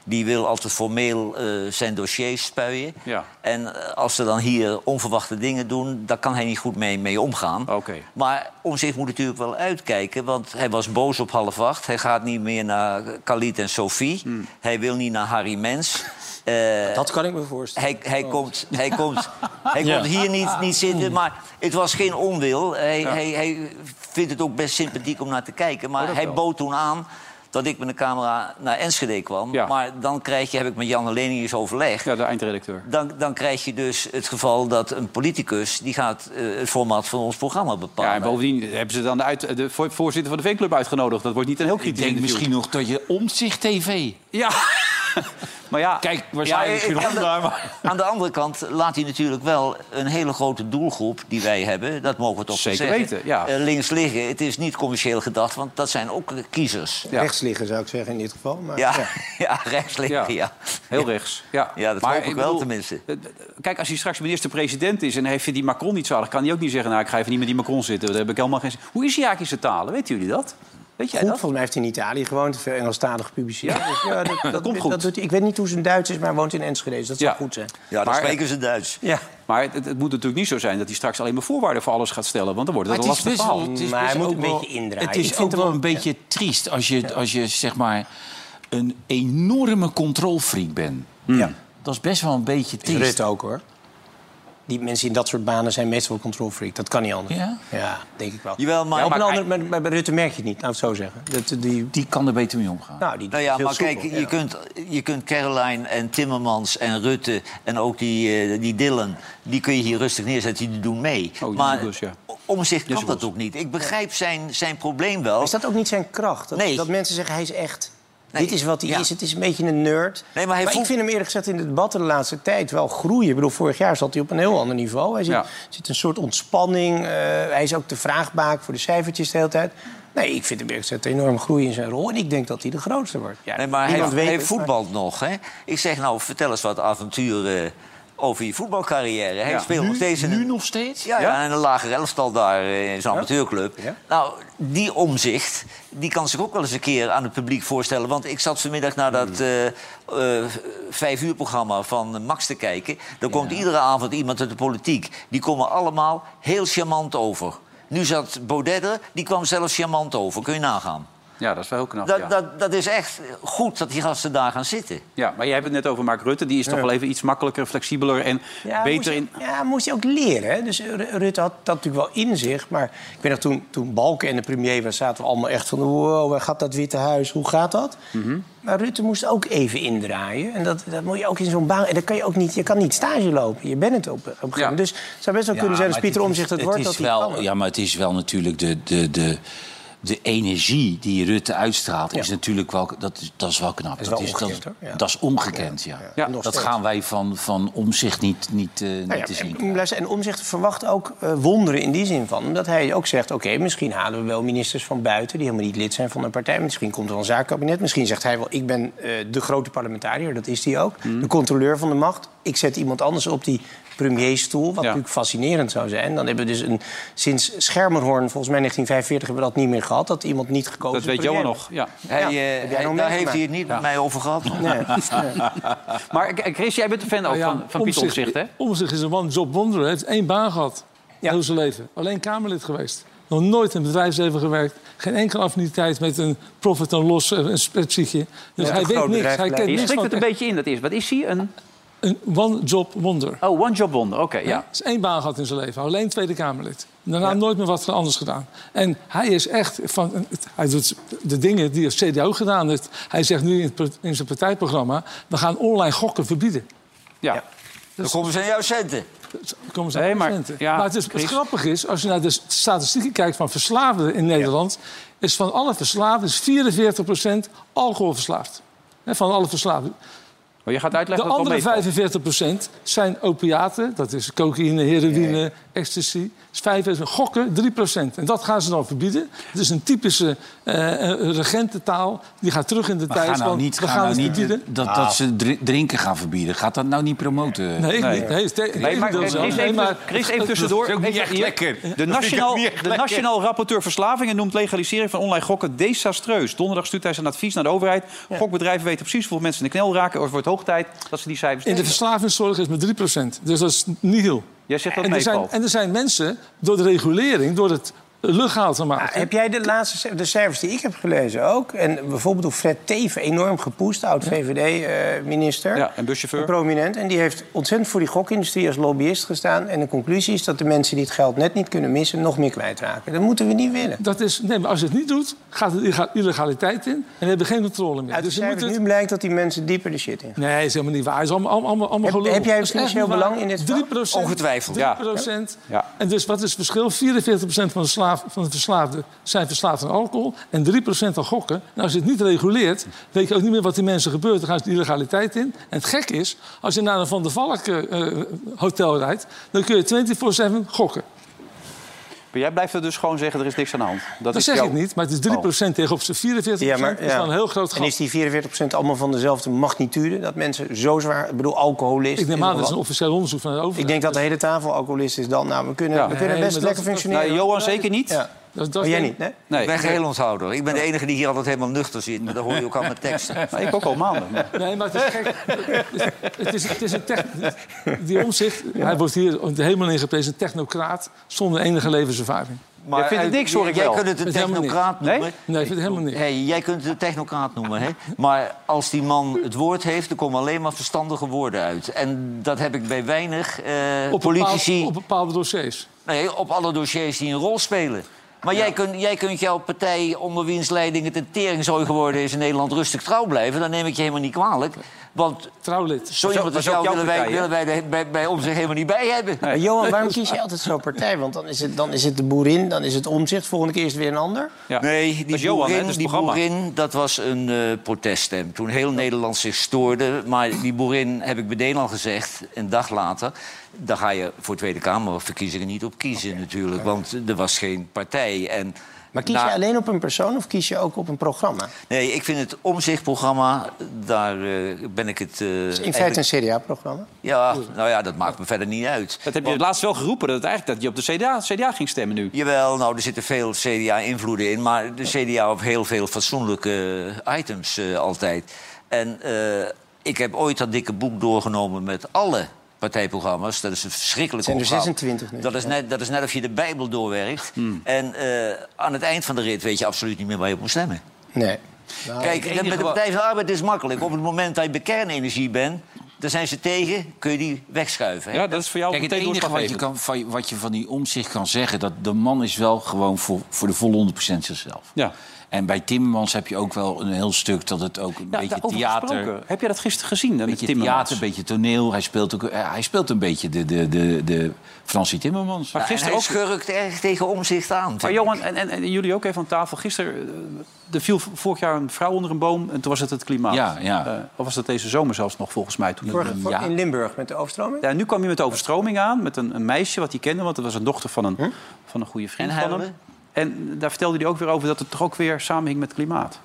Speaker 3: die wil altijd formeel eh, zijn dossiers spuien.
Speaker 1: Ja.
Speaker 3: En eh, als ze dan hier onverwachte dingen doen, daar kan hij niet goed mee, mee omgaan. Maar om zich moet natuurlijk wel uitkijken, want hij was boos op half acht. Hij gaat niet meer naar Khalid en Sophie.
Speaker 1: Hmm.
Speaker 3: Hij wil niet naar Harry Mens. Eh,
Speaker 4: Dat kan ik me voorstellen.
Speaker 3: hij, hij, komt, hij, komt, hij
Speaker 4: Ja.
Speaker 3: komt hier niet, niet zitten, maar het was geen onwil. Hij,
Speaker 4: Ja.
Speaker 3: hij, hij vindt het ook best sympathiek om naar te kijken.
Speaker 1: Oh,
Speaker 3: Maar
Speaker 1: dat
Speaker 3: hij
Speaker 1: wel.
Speaker 3: bood toen aan dat ik met de camera naar Enschede kwam.
Speaker 1: Ja.
Speaker 3: Maar dan krijg je, heb ik met Jan Helenius overlegd...
Speaker 1: Ja, de eindredacteur.
Speaker 3: Dan, dan krijg je dus het geval dat een politicus... die gaat eh, het format van ons programma bepalen.
Speaker 1: Ja, en bovendien hebben ze dan de, uit, de voor- voorzitter van de fanclub uitgenodigd. Dat wordt niet een heel kritisch
Speaker 6: Ik denk
Speaker 1: interview.
Speaker 6: misschien nog dat je omzicht TV.
Speaker 1: Ja. maar ja...
Speaker 6: Kijk,
Speaker 3: Ja,
Speaker 6: waarschijnlijk
Speaker 3: eh,
Speaker 6: geen
Speaker 3: aan,
Speaker 6: hond daar,
Speaker 3: de,
Speaker 6: maar...
Speaker 3: aan de andere kant laat hij natuurlijk wel een hele grote doelgroep die wij hebben. Dat mogen we toch
Speaker 1: Zeker
Speaker 3: zeggen,
Speaker 1: weten, ja.
Speaker 3: eh, links liggen. Het is niet commercieel gedacht, want dat zijn ook eh, kiezers.
Speaker 4: Rechts liggen zou ik zeggen in dit geval. Maar,
Speaker 3: Ja, ja. rechts liggen, ja.
Speaker 1: Heel rechts, ja.
Speaker 3: Ja, dat
Speaker 1: Maar
Speaker 3: hoop ik
Speaker 1: ik
Speaker 3: wel
Speaker 1: bedoel- eh,
Speaker 3: tenminste.
Speaker 1: Kijk, als hij straks minister-president is en hij vindt die Macron niet zalig... kan hij ook niet zeggen, nou, ik ga even niet met die Macron zitten. Daar heb ik helemaal geen zin Hoe is hij eigenlijk in zijn talen? Weten jullie dat? Weet jij
Speaker 4: Goed,
Speaker 1: dat?
Speaker 4: volgens mij heeft hij in Italië gewoond, veel Engelstalig gepubliceerd.
Speaker 1: Ja.
Speaker 4: Dus
Speaker 1: Dat komt goed.
Speaker 4: doet hij. ik weet niet hoe zijn Duits is, maar hij woont in Enschede, dus dat zou
Speaker 1: Ja.
Speaker 4: goed zijn.
Speaker 3: Ja, dan
Speaker 1: Maar- eh,
Speaker 3: spreken ze Duits.
Speaker 4: Ja.
Speaker 1: Maar het, het- het moet natuurlijk niet zo zijn dat hij straks alleen maar voorwaarden voor alles gaat stellen. Want dan wordt het
Speaker 6: Maar
Speaker 1: een
Speaker 6: het is
Speaker 1: lastig
Speaker 3: dus-
Speaker 6: best wel,
Speaker 1: verhaal.
Speaker 6: het is best ook wel- Het is ook wel een beetje triest als je, als je zeg maar een enorme controlfreak bent.
Speaker 4: Ja.
Speaker 6: Dat is best wel een beetje
Speaker 4: Is
Speaker 6: triest.
Speaker 4: Rutte ook, hoor. Die mensen in dat soort banen zijn meestal wel controlfreak. Dat kan niet anders.
Speaker 6: Ja?
Speaker 4: denk ik wel.
Speaker 3: Jawel, maar-
Speaker 4: Ja, op een
Speaker 3: maar-
Speaker 4: andere, maar, maar bij Rutte merk je het niet, laat ik het zo zeggen. Dat, die,
Speaker 6: die kan er beter mee omgaan.
Speaker 4: Nou, die,
Speaker 3: Nou
Speaker 4: is
Speaker 3: ja,
Speaker 4: heel
Speaker 3: maar
Speaker 4: soepel,
Speaker 3: kijk,
Speaker 4: ja.
Speaker 3: je, kunt, je kunt Caroline en Timmermans en Rutte en ook die, eh, die Dylan... die kun je hier rustig neerzetten, die doen mee.
Speaker 1: Oh, die
Speaker 3: maar
Speaker 1: Jezebels, ja.
Speaker 3: om zich kan
Speaker 1: Jezebels.
Speaker 3: dat ook niet. Ik begrijp zijn, zijn probleem wel.
Speaker 4: Is dat ook niet zijn kracht? Dat,
Speaker 3: Nee.
Speaker 4: dat mensen zeggen, hij is echt...
Speaker 3: Nee.
Speaker 4: Dit is wat hij
Speaker 3: Ja.
Speaker 4: is. Het is een beetje een nerd.
Speaker 3: Nee, maar hij
Speaker 4: ik
Speaker 3: voelt-
Speaker 4: vind hem eerlijk gezegd in het debat de laatste tijd wel groeien. Ik bedoel, vorig jaar zat hij op een heel ander niveau. Hij zit,
Speaker 1: Ja.
Speaker 4: zit een soort ontspanning. eh, hij is ook de vraagbaak voor de cijfertjes de hele tijd. Nee, ik vind hem eerlijk gezegd enorm groeien in zijn rol. En ik denk dat hij de grootste wordt. Ja,
Speaker 3: Nee, maar hij,
Speaker 4: niemand weet
Speaker 3: hij
Speaker 4: het,
Speaker 3: voetbalt nog, hè? Ik zeg nou, vertel eens wat avonturen over je voetbalcarrière. Hij
Speaker 1: Ja.
Speaker 3: speelt nog steeds in
Speaker 6: Nu
Speaker 3: een,
Speaker 6: nog steeds?
Speaker 3: ja, ja, in een lager elftal daar eh, in zijn amateurclub.
Speaker 4: Ja.
Speaker 3: Nou, die omzicht, die kan zich ook wel eens een keer aan het publiek voorstellen. Want ik zat vanmiddag naar dat eh eh, vijf uur programma van Max te kijken. Daar komt iedere avond iemand uit de politiek. Die komen allemaal heel charmant over. Nu zat Baudet er, die kwam zelfs charmant over. Kun je nagaan.
Speaker 1: Ja, dat is wel heel knap.
Speaker 3: Dat,
Speaker 1: ja.
Speaker 3: dat, dat is echt goed dat die gasten daar gaan zitten.
Speaker 1: Ja, maar jij hebt het net over Mark Rutte. Die is toch wel even iets makkelijker, flexibeler en
Speaker 4: Ja, moest
Speaker 1: beter
Speaker 4: je-
Speaker 1: in...
Speaker 4: Ja, moest je ook leren. Hè? Dus Ru- Rutte had dat natuurlijk wel in zich. Maar ik weet nog, toen, toen Balken en de premier was, zaten we allemaal echt van... wow, waar gaat dat Witte Huis? Hoe gaat dat?
Speaker 6: Mhm.
Speaker 4: Maar Rutte moest ook even indraaien. En dat, dat moet je ook in zo'n baan... En dan kan je ook niet, je kan niet stage lopen. Je bent het op, op een gegeven moment. Dus het zou best wel kunnen zijn
Speaker 6: maar
Speaker 4: als Pieter Omzicht het,
Speaker 6: is-
Speaker 4: wordt...
Speaker 6: is
Speaker 4: dat hij
Speaker 6: wel,
Speaker 4: kan.
Speaker 6: Ja, maar het is wel natuurlijk de, de, de, de energie die Rutte uitstraalt. Is natuurlijk wel, dat, is- dat is wel knap. Dat
Speaker 4: is wel ongekend,
Speaker 6: dat,
Speaker 4: hoor. Ja.
Speaker 6: dat is ongekend, ja.
Speaker 1: Ja,
Speaker 4: nog
Speaker 6: dat
Speaker 4: steeds.
Speaker 6: gaan wij van, van omzicht niet, niet, eh,
Speaker 4: Nou
Speaker 6: niet
Speaker 4: ja,
Speaker 6: te zien.
Speaker 4: en, luister, en Omzicht verwacht ook eh, wonderen in die zin van. Omdat hij ook zegt, oké, misschien halen we wel ministers van buiten... die helemaal niet lid zijn van een partij. Misschien komt er wel een zaakkabinet. Misschien zegt hij wel, ik ben eh, de grote parlementariër. Dat is hij ook.
Speaker 3: Mhm.
Speaker 4: De controleur van de macht. Ik zet iemand anders op die premierstoel. Wat natuurlijk fascinerend zou zijn. Dan hebben we dus een, sinds Schermerhorn, volgens mij 1945... hebben we dat niet meer gehad. Dat iemand niet gekozen
Speaker 1: Dat weet
Speaker 4: premier
Speaker 1: Johan
Speaker 4: werd.
Speaker 1: nog, ja.
Speaker 3: Hij,
Speaker 4: heb
Speaker 3: eh,
Speaker 4: jij
Speaker 3: hij-
Speaker 4: nog
Speaker 3: daar
Speaker 4: meegemaakt?
Speaker 3: heeft hij het niet met mij over gehad. nog.
Speaker 1: Maar eh, Chris, jij bent een fan ook
Speaker 2: Nou ja,
Speaker 1: van, van Pieter Omtzigt, hè?
Speaker 2: Omtzigt is een one-job wonder. Hij heeft één baan gehad. Heel zijn leven. Alleen Kamerlid geweest. Nog nooit in het bedrijfsleven gewerkt. Geen enkele affiniteit met een profit en los, eh, een spreadsheetje. Dus
Speaker 4: Ja,
Speaker 2: hij
Speaker 4: een
Speaker 2: weet
Speaker 4: groot
Speaker 2: niks. Hij
Speaker 4: bedrijf
Speaker 2: kent
Speaker 1: Je
Speaker 2: niks
Speaker 1: slikt
Speaker 2: van
Speaker 1: het een beetje in, dat is. Wat is hij? Een...
Speaker 2: een one-job wonder.
Speaker 1: Oh, one job wonder. Oké,
Speaker 2: Ja.
Speaker 1: ja.
Speaker 2: is één baan gehad in zijn leven. Alleen Tweede Kamerlid. Daarna nooit meer wat anders gedaan. En hij is echt van... het- Hij doet de dingen die het CDA gedaan heeft. Hij zegt nu in, het part- in zijn partijprogramma... we gaan online gokken verbieden.
Speaker 1: ja.
Speaker 3: Dan komen ze aan jouw centen.
Speaker 2: Er Komen ze
Speaker 1: Nee,
Speaker 2: aan
Speaker 1: maar-
Speaker 2: procenten.
Speaker 1: ja,
Speaker 2: maar het, is, het
Speaker 1: Chris.
Speaker 2: grappige is, als je naar de s- statistieken kijkt van verslaafden in Nederland... is van alle verslaafden is 44 alcoholverslaafd. Hè, van alle verslaafden.
Speaker 1: Maar je gaat uitleggen
Speaker 2: de
Speaker 1: dat het wel
Speaker 2: andere
Speaker 1: meevalt.
Speaker 2: 45 zijn opiaten. Dat is cocaïne, heroïne, ecstasy. Dus 45 gokken 3 En dat gaan ze dan verbieden. Het is een typische eh, eh, regententaal. Die gaat terug in de
Speaker 6: Maar
Speaker 2: tijd.
Speaker 6: ga nou
Speaker 2: want
Speaker 6: niet,
Speaker 2: we
Speaker 6: ga
Speaker 2: gaan
Speaker 6: nou
Speaker 2: het
Speaker 6: niet eh,
Speaker 2: verbieden.
Speaker 6: dat, dat ze dri- drinken gaan verbieden. Gaat dat nou niet promoten?
Speaker 2: Nee, ik niet. Nee, het is-
Speaker 1: Nee, maar Chris, even, Chris, even tussendoor.
Speaker 6: Dat is ook niet
Speaker 1: Even
Speaker 6: echt
Speaker 1: hier.
Speaker 6: lekker.
Speaker 1: De
Speaker 6: Dat vind ik ook
Speaker 1: Nationaal,
Speaker 6: niet echt
Speaker 1: de
Speaker 6: lekker.
Speaker 1: nationaal Rapporteur Verslavingen noemt legalisering van online gokken desastreus. Donderdag stuurt hij zijn advies naar de overheid. Gokbedrijven weten precies hoeveel mensen in de knel raken. Of het wordt hoog tijd dat ze die cijfers
Speaker 2: In de
Speaker 1: delen.
Speaker 2: verslavingszorg is maar 3 Dus dat is niet heel.
Speaker 1: Jij zegt dat
Speaker 2: en, er zijn,
Speaker 1: meevalt.
Speaker 2: en er zijn mensen door de regulering, door het luchthaal te maken.
Speaker 4: Ah, Heb jij de laatste ce- de cijfers die ik heb gelezen ook? En bijvoorbeeld hoe Fred Teven enorm gepoest, oud-VVD-minister.
Speaker 1: Ja, en buschauffeur.
Speaker 4: eh, Prominent. En die heeft ontzettend voor die gokindustrie als lobbyist gestaan. En de conclusie is dat de mensen die het geld net niet kunnen missen... nog meer kwijtraken. Dat moeten we niet willen.
Speaker 2: Dat is, nee, maar als je het niet doet, gaat het illa- illegaliteit in. En we hebben geen controle meer.
Speaker 4: Uit de
Speaker 2: Dus je moet
Speaker 4: cijfers
Speaker 2: het...
Speaker 4: nu blijkt dat die mensen dieper de shit in.
Speaker 2: Nee, is helemaal niet waar. Is allemaal, allemaal, allemaal
Speaker 4: Heb-
Speaker 2: gelul.
Speaker 4: heb jij
Speaker 2: Dat is echt
Speaker 4: financieel
Speaker 2: niet waar.
Speaker 4: belang in dit
Speaker 2: 3
Speaker 1: Ongetwijfeld,
Speaker 2: 3
Speaker 1: ja.
Speaker 2: Ja. En dus wat is het verschil? 44 van de, slaaf, van de verslaafden zijn verslaafd aan alcohol... en 3 aan gokken. En als je het niet reguleert, weet je ook niet meer wat die mensen gebeurt. Dan gaan ze de illegaliteit in. En het gek is, als je naar een Van der Valk eh, eh, hotel rijdt... dan kun je 24-7 gokken.
Speaker 1: Maar jij blijft er dus gewoon zeggen, er is niks aan de hand. Dat,
Speaker 2: Dat,
Speaker 1: is
Speaker 2: zeg
Speaker 1: jouw- Oh.
Speaker 2: ik niet, maar het is 3 tegenop z'n 44 Dat is dan een heel groot gat.
Speaker 4: En is die 44% allemaal van dezelfde magnitude? Dat mensen zo zwaar... Ik bedoel, alcoholisten...
Speaker 2: Ik neem aan, dat is een
Speaker 4: wel-
Speaker 2: officieel onderzoek van de overheid.
Speaker 4: Ik denk dat de hele tafel alcoholist is dan. Nou, we kunnen, we kunnen
Speaker 2: Nee, maar
Speaker 4: best
Speaker 2: dat-
Speaker 4: lekker
Speaker 2: dat-
Speaker 4: functioneren.
Speaker 1: Nou, Johan zeker niet.
Speaker 4: Ja.
Speaker 2: Dat,
Speaker 4: Maar Oh, jij niet, nee?
Speaker 1: Nee.
Speaker 3: Ik ben geheel onthouder. Ik ben de enige die hier altijd helemaal nuchter zit. Maar dat hoor je ook aan mijn teksten.
Speaker 1: Maar ik ook al maanden.
Speaker 2: Nee, maar het is gek. het, is, het is een tech... Die omzicht, hij wordt hier helemaal in geprezen, een technocraat zonder enige levenservaring.
Speaker 1: Jij vindt het
Speaker 3: eh,
Speaker 1: niks, hoor ik
Speaker 3: jij
Speaker 1: wel.
Speaker 3: kunt het een
Speaker 2: Vindt helemaal
Speaker 3: technocraat
Speaker 2: niks.
Speaker 3: noemen.
Speaker 2: Nee? Nee, ik vind het helemaal niks.
Speaker 3: Hey, jij kunt het een technocraat noemen, hè? Maar als die man het woord heeft, er komen alleen maar verstandige woorden uit. En dat heb ik bij weinig eh,
Speaker 2: Op
Speaker 3: politici...
Speaker 2: bepaalde, op bepaalde dossiers.
Speaker 3: Nee, op alle dossiers die een rol spelen. Maar jij, kunt, jij kunt jouw partij onder wiens leiding het een teringzooi geworden is in Nederland rustig trouw blijven. Dan neem ik je helemaal niet kwalijk. Want
Speaker 2: Trouwlid.
Speaker 3: zo iemand als
Speaker 1: was
Speaker 3: jou
Speaker 1: ook jouw
Speaker 3: willen wij,
Speaker 1: partij, hè?
Speaker 3: willen wij de- bij, bij ons zich helemaal niet bij hebben.
Speaker 4: Maar Nou, Johan, waarom kies je altijd zo'n partij? Want dan is, het, dan is het de boerin, dan is het omzicht. Volgende keer is het weer een ander.
Speaker 3: Nee,
Speaker 1: Dat
Speaker 3: die
Speaker 1: is Johan, hè?
Speaker 3: boerin,
Speaker 1: Dat is het
Speaker 3: die
Speaker 1: programma.
Speaker 3: boerin, dat was een eh, proteststem. Toen heel Nederland zich stoorde. Maar die boerin, heb ik meteen al gezegd, een dag later... daar ga je voor Tweede Kamerverkiezingen niet op kiezen natuurlijk. Want er was geen partij. En
Speaker 4: Maar kies
Speaker 3: na-
Speaker 4: je alleen op een persoon of kies je ook op een programma? Het
Speaker 3: Nee, ik vind het omzichtprogramma, daar eh, ben ik het... eh,
Speaker 4: is Dus in
Speaker 3: eigenlijk-
Speaker 4: feite een CDA-programma.
Speaker 3: Ja, nou ja, dat maakt me verder niet uit.
Speaker 1: Dat heb je laatst wel geroepen, dat, het eigenlijk, dat je op de CDA, CDA ging stemmen nu.
Speaker 3: Jawel, nou, er zitten veel CDA-invloeden in. Maar de CDA op heel veel fatsoenlijke items eh, altijd. En eh, ik heb ooit dat dikke boek doorgenomen met alle partijprogramma's. Dat is een verschrikkelijk
Speaker 4: Het zijn er
Speaker 3: opgave.
Speaker 4: 26 nu.
Speaker 3: Dat is, net, dat is net of je de Bijbel doorwerkt. En eh, aan het eind van de rit weet je absoluut niet meer waar je op moet stemmen.
Speaker 4: Nee. Nou,
Speaker 3: Kijk, met de Partij van de Arbeid is het makkelijk. Op het moment dat je bij kernenergie bent, dan zijn ze tegen, kun je die wegschuiven. hè.
Speaker 1: Ja, dat is voor jou
Speaker 6: Kijk, het
Speaker 1: meteen
Speaker 6: enige wat je,
Speaker 1: doorslaggevend.
Speaker 6: kan, van- wat je van die omzicht kan zeggen... dat de man is wel gewoon voor, voor de volle 100% zichzelf.
Speaker 1: Ja.
Speaker 6: En bij Timmermans heb je ook wel een heel stuk dat het ook een
Speaker 1: Ja,
Speaker 6: beetje
Speaker 1: Nou, daarover
Speaker 6: theater...
Speaker 1: gesproken. Heb jij dat gisteren gezien?
Speaker 6: Een beetje theater, een beetje toneel. Hij speelt, ook, eh, hij speelt een beetje de, de, de, de Fransie Timmermans.
Speaker 1: Maar
Speaker 3: En
Speaker 1: gisteren
Speaker 3: hij
Speaker 1: ook
Speaker 3: schurkt erg tegen omzicht aan.
Speaker 1: Maar Johan, en, en, en jullie ook even aan tafel. Gisteren eh, er viel vorig jaar een vrouw onder een boom en toen was het het klimaat.
Speaker 6: Ja, ja.
Speaker 1: Eh, of was dat deze zomer zelfs nog volgens mij? Toen
Speaker 4: Vorige- voor-
Speaker 6: Ja.
Speaker 4: In Limburg met de overstroming?
Speaker 1: ja, nu kwam je met de overstroming aan, met een, een meisje wat hij kende... want dat was een dochter van een, van een goede vriend
Speaker 3: En
Speaker 1: van hem.
Speaker 3: huilen?
Speaker 1: En daar vertelde hij ook weer over dat het toch ook weer samenhing met klimaat.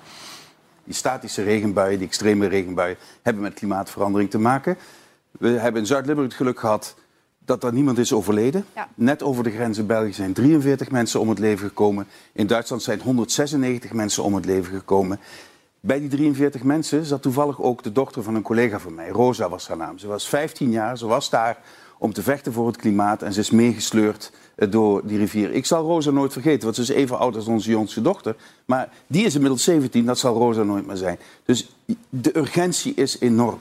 Speaker 12: Die statische regenbuien, die extreme regenbuien, hebben met klimaatverandering te maken. We hebben in Zuid-Limburg het geluk gehad dat er niemand is overleden.
Speaker 7: Ja.
Speaker 12: Net over de grens in België zijn 43 mensen om het leven gekomen. In Duitsland zijn 196 mensen om het leven gekomen. Bij die 43 mensen zat toevallig ook de dochter van een collega van mij. Rosa was haar naam. Ze was 15 jaar, ze was daar om te vechten voor het klimaat en ze is meegesleurd eh, door die rivier. Ik zal Rosa nooit vergeten, want ze is even oud als onze jongste dochter. Maar die is inmiddels 17, dat zal Rosa nooit meer zijn. Dus de urgentie is enorm.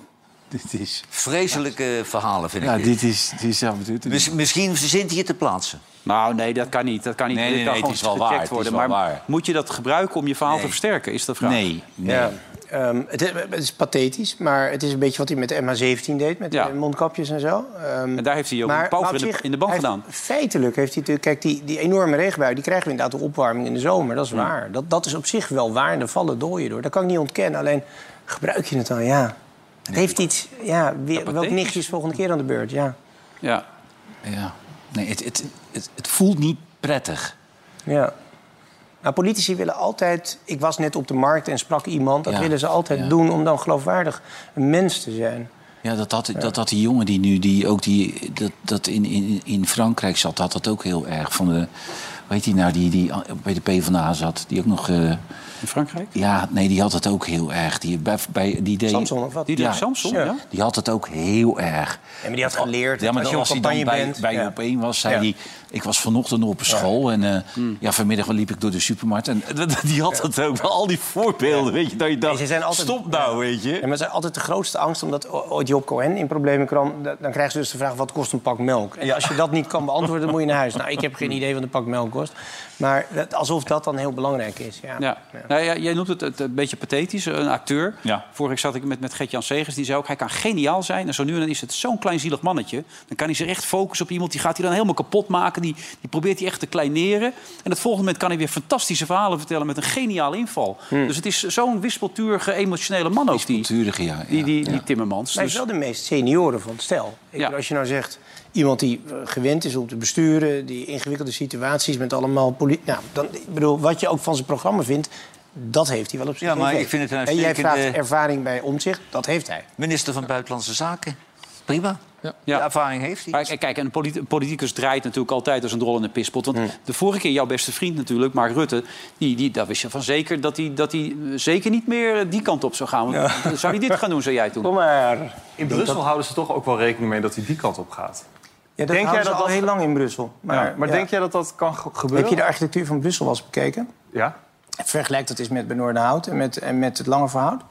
Speaker 6: Dit is...
Speaker 3: Vreselijke verhalen, vind ik.
Speaker 6: Ja,
Speaker 3: dit.
Speaker 6: Ah, dit is, dit is absoluut...
Speaker 3: Mis- misschien verzint hij het te plaatsen.
Speaker 1: Nou, nee, dat kan niet. Dat kan niet.
Speaker 6: Nee,
Speaker 1: Dit
Speaker 6: nee,
Speaker 1: kan
Speaker 6: nee,
Speaker 1: gewoon
Speaker 6: het is wel
Speaker 1: gecheckt
Speaker 6: waar, het is
Speaker 1: worden.
Speaker 6: wel
Speaker 1: maar
Speaker 6: waar.
Speaker 1: moet je dat gebruiken om je verhaal te
Speaker 6: Nee.
Speaker 1: versterken, is de vraag.
Speaker 6: Nee, nee.
Speaker 4: Ja. Ehm, het, het is pathetisch, maar het is een beetje wat hij met de MH17 deed. Met
Speaker 1: Ja.
Speaker 4: de mondkapjes en zo. Ehm,
Speaker 1: En daar heeft hij ook een pauze
Speaker 4: op
Speaker 1: in de,
Speaker 4: zich,
Speaker 1: in de ban
Speaker 4: hij heeft-
Speaker 1: gedaan.
Speaker 4: Feitelijk heeft hij natuurlijk... Kijk, die, die enorme regenbui, die krijgen we inderdaad door opwarming in de zomer. Dat is waar. Dat, dat is op zich wel waar. En er vallen dooien door. Dat kan ik niet ontkennen. Alleen gebruik je het dan, ja. Het heeft iets... Ja, wie- welk
Speaker 6: betekent-
Speaker 4: nichtje is volgende keer aan de beurt? Ja.
Speaker 1: Ja.
Speaker 6: ja. Nee, het, het, het, het voelt niet prettig.
Speaker 4: Ja. Maar politici willen altijd... Ik was net op de markt en sprak iemand. Dat
Speaker 6: Ja,
Speaker 4: willen ze altijd doen om dan geloofwaardig een mens te zijn.
Speaker 6: Ja, dat had, dat had die jongen die nu die ook die, dat, dat in, in, in Frankrijk zat, had dat ook heel erg. Van de, weet die nou, die, die bij de PvdA zat, die ook nog. eh,
Speaker 1: In Frankrijk?
Speaker 6: ja, nee, die had het ook heel erg. Die, bij, bij, die deed,
Speaker 4: Samson of wat?
Speaker 1: Die deed Samson, ja.
Speaker 6: Die had het ook heel erg.
Speaker 4: Ja, maar die had geleerd
Speaker 6: Ja, maar
Speaker 4: dat
Speaker 6: dan
Speaker 4: als
Speaker 6: als
Speaker 4: je
Speaker 6: hij
Speaker 4: op
Speaker 6: dan
Speaker 4: campagne
Speaker 6: bij,
Speaker 4: bent...
Speaker 6: bij
Speaker 4: ja.
Speaker 6: op één was, zei
Speaker 4: Ja.
Speaker 6: hij... ik was vanochtend op school en eh, ja, vanmiddag liep ik door de supermarkt. En die had dat ook, wel, al die voorbeelden, weet je, dat je dacht,
Speaker 4: Ze zijn altijd,
Speaker 6: stop nou, weet je.
Speaker 4: Ja, maar ze zijn altijd de grootste angst omdat o- ooit Job Cohen in problemen kwam. da- Dan krijgen ze dus de vraag: wat kost een pak melk? En als je dat niet kan beantwoorden, dan moet je naar huis. Nou, ik heb geen idee wat een pak melk kost. Maar dat- alsof dat dan heel belangrijk is. Ja.
Speaker 1: Ja. Nou ja, jij noemt het, het een beetje pathetisch, een acteur. Vorige week zat ik met, met Gert-Jan Segers, die zei ook... hij kan geniaal zijn en zo nu en dan is het zo'n klein zielig mannetje. Dan kan hij zich echt focussen op iemand, die gaat hij dan helemaal kapot maken. Die, die probeert hij echt te kleineren. En het volgende moment kan hij weer fantastische verhalen vertellen... met een geniale inval.
Speaker 6: Hmm.
Speaker 1: Dus het is zo'n wispelturige, emotionele man ook, die,
Speaker 6: Turige, ja.
Speaker 1: die, die, die Timmermans.
Speaker 4: Maar hij is
Speaker 1: Dus-
Speaker 4: wel de meest senioren van het stel. Ik bedoel, Als je nou zegt, iemand die eh, gewend is op te besturen... die ingewikkelde situaties met allemaal politie... Nou, dan, ik bedoel, wat je ook van zijn programma vindt, dat heeft hij wel op zich.
Speaker 3: Ja, maar ik vind het een
Speaker 4: En jij vraagt
Speaker 3: uitstekende-
Speaker 4: ervaring bij omzicht, dat heeft hij.
Speaker 3: Minister van Buitenlandse Zaken. Prima.
Speaker 1: Ja.
Speaker 3: De ervaring heeft hij.
Speaker 1: Maar k- kijk, en een politi- een politicus draait natuurlijk altijd als een drol in een pispot.
Speaker 4: Hmm.
Speaker 1: Want de vorige keer, jouw beste vriend natuurlijk, Mark Rutte... Die, die, daar wist je van zeker dat hij dat hij zeker niet meer eh, die kant op zou gaan. Want Zou hij dit gaan doen, zou jij toen?
Speaker 4: Kom maar.
Speaker 13: In Brussel houden ze toch ook wel rekening mee dat hij die kant op gaat.
Speaker 4: Ja, dat
Speaker 13: Denk
Speaker 4: denk
Speaker 13: jij
Speaker 4: jij
Speaker 13: dat
Speaker 4: al
Speaker 13: dat-
Speaker 4: heel lang in Brussel.
Speaker 13: Maar, maar
Speaker 4: ja.
Speaker 13: denk jij dat dat kan ge- gebeuren?
Speaker 4: Heb je de architectuur van Brussel wel eens bekeken?
Speaker 13: Ja.
Speaker 4: Vergelijk dat eens met Benoordenhout en met, en met het Langeverhout.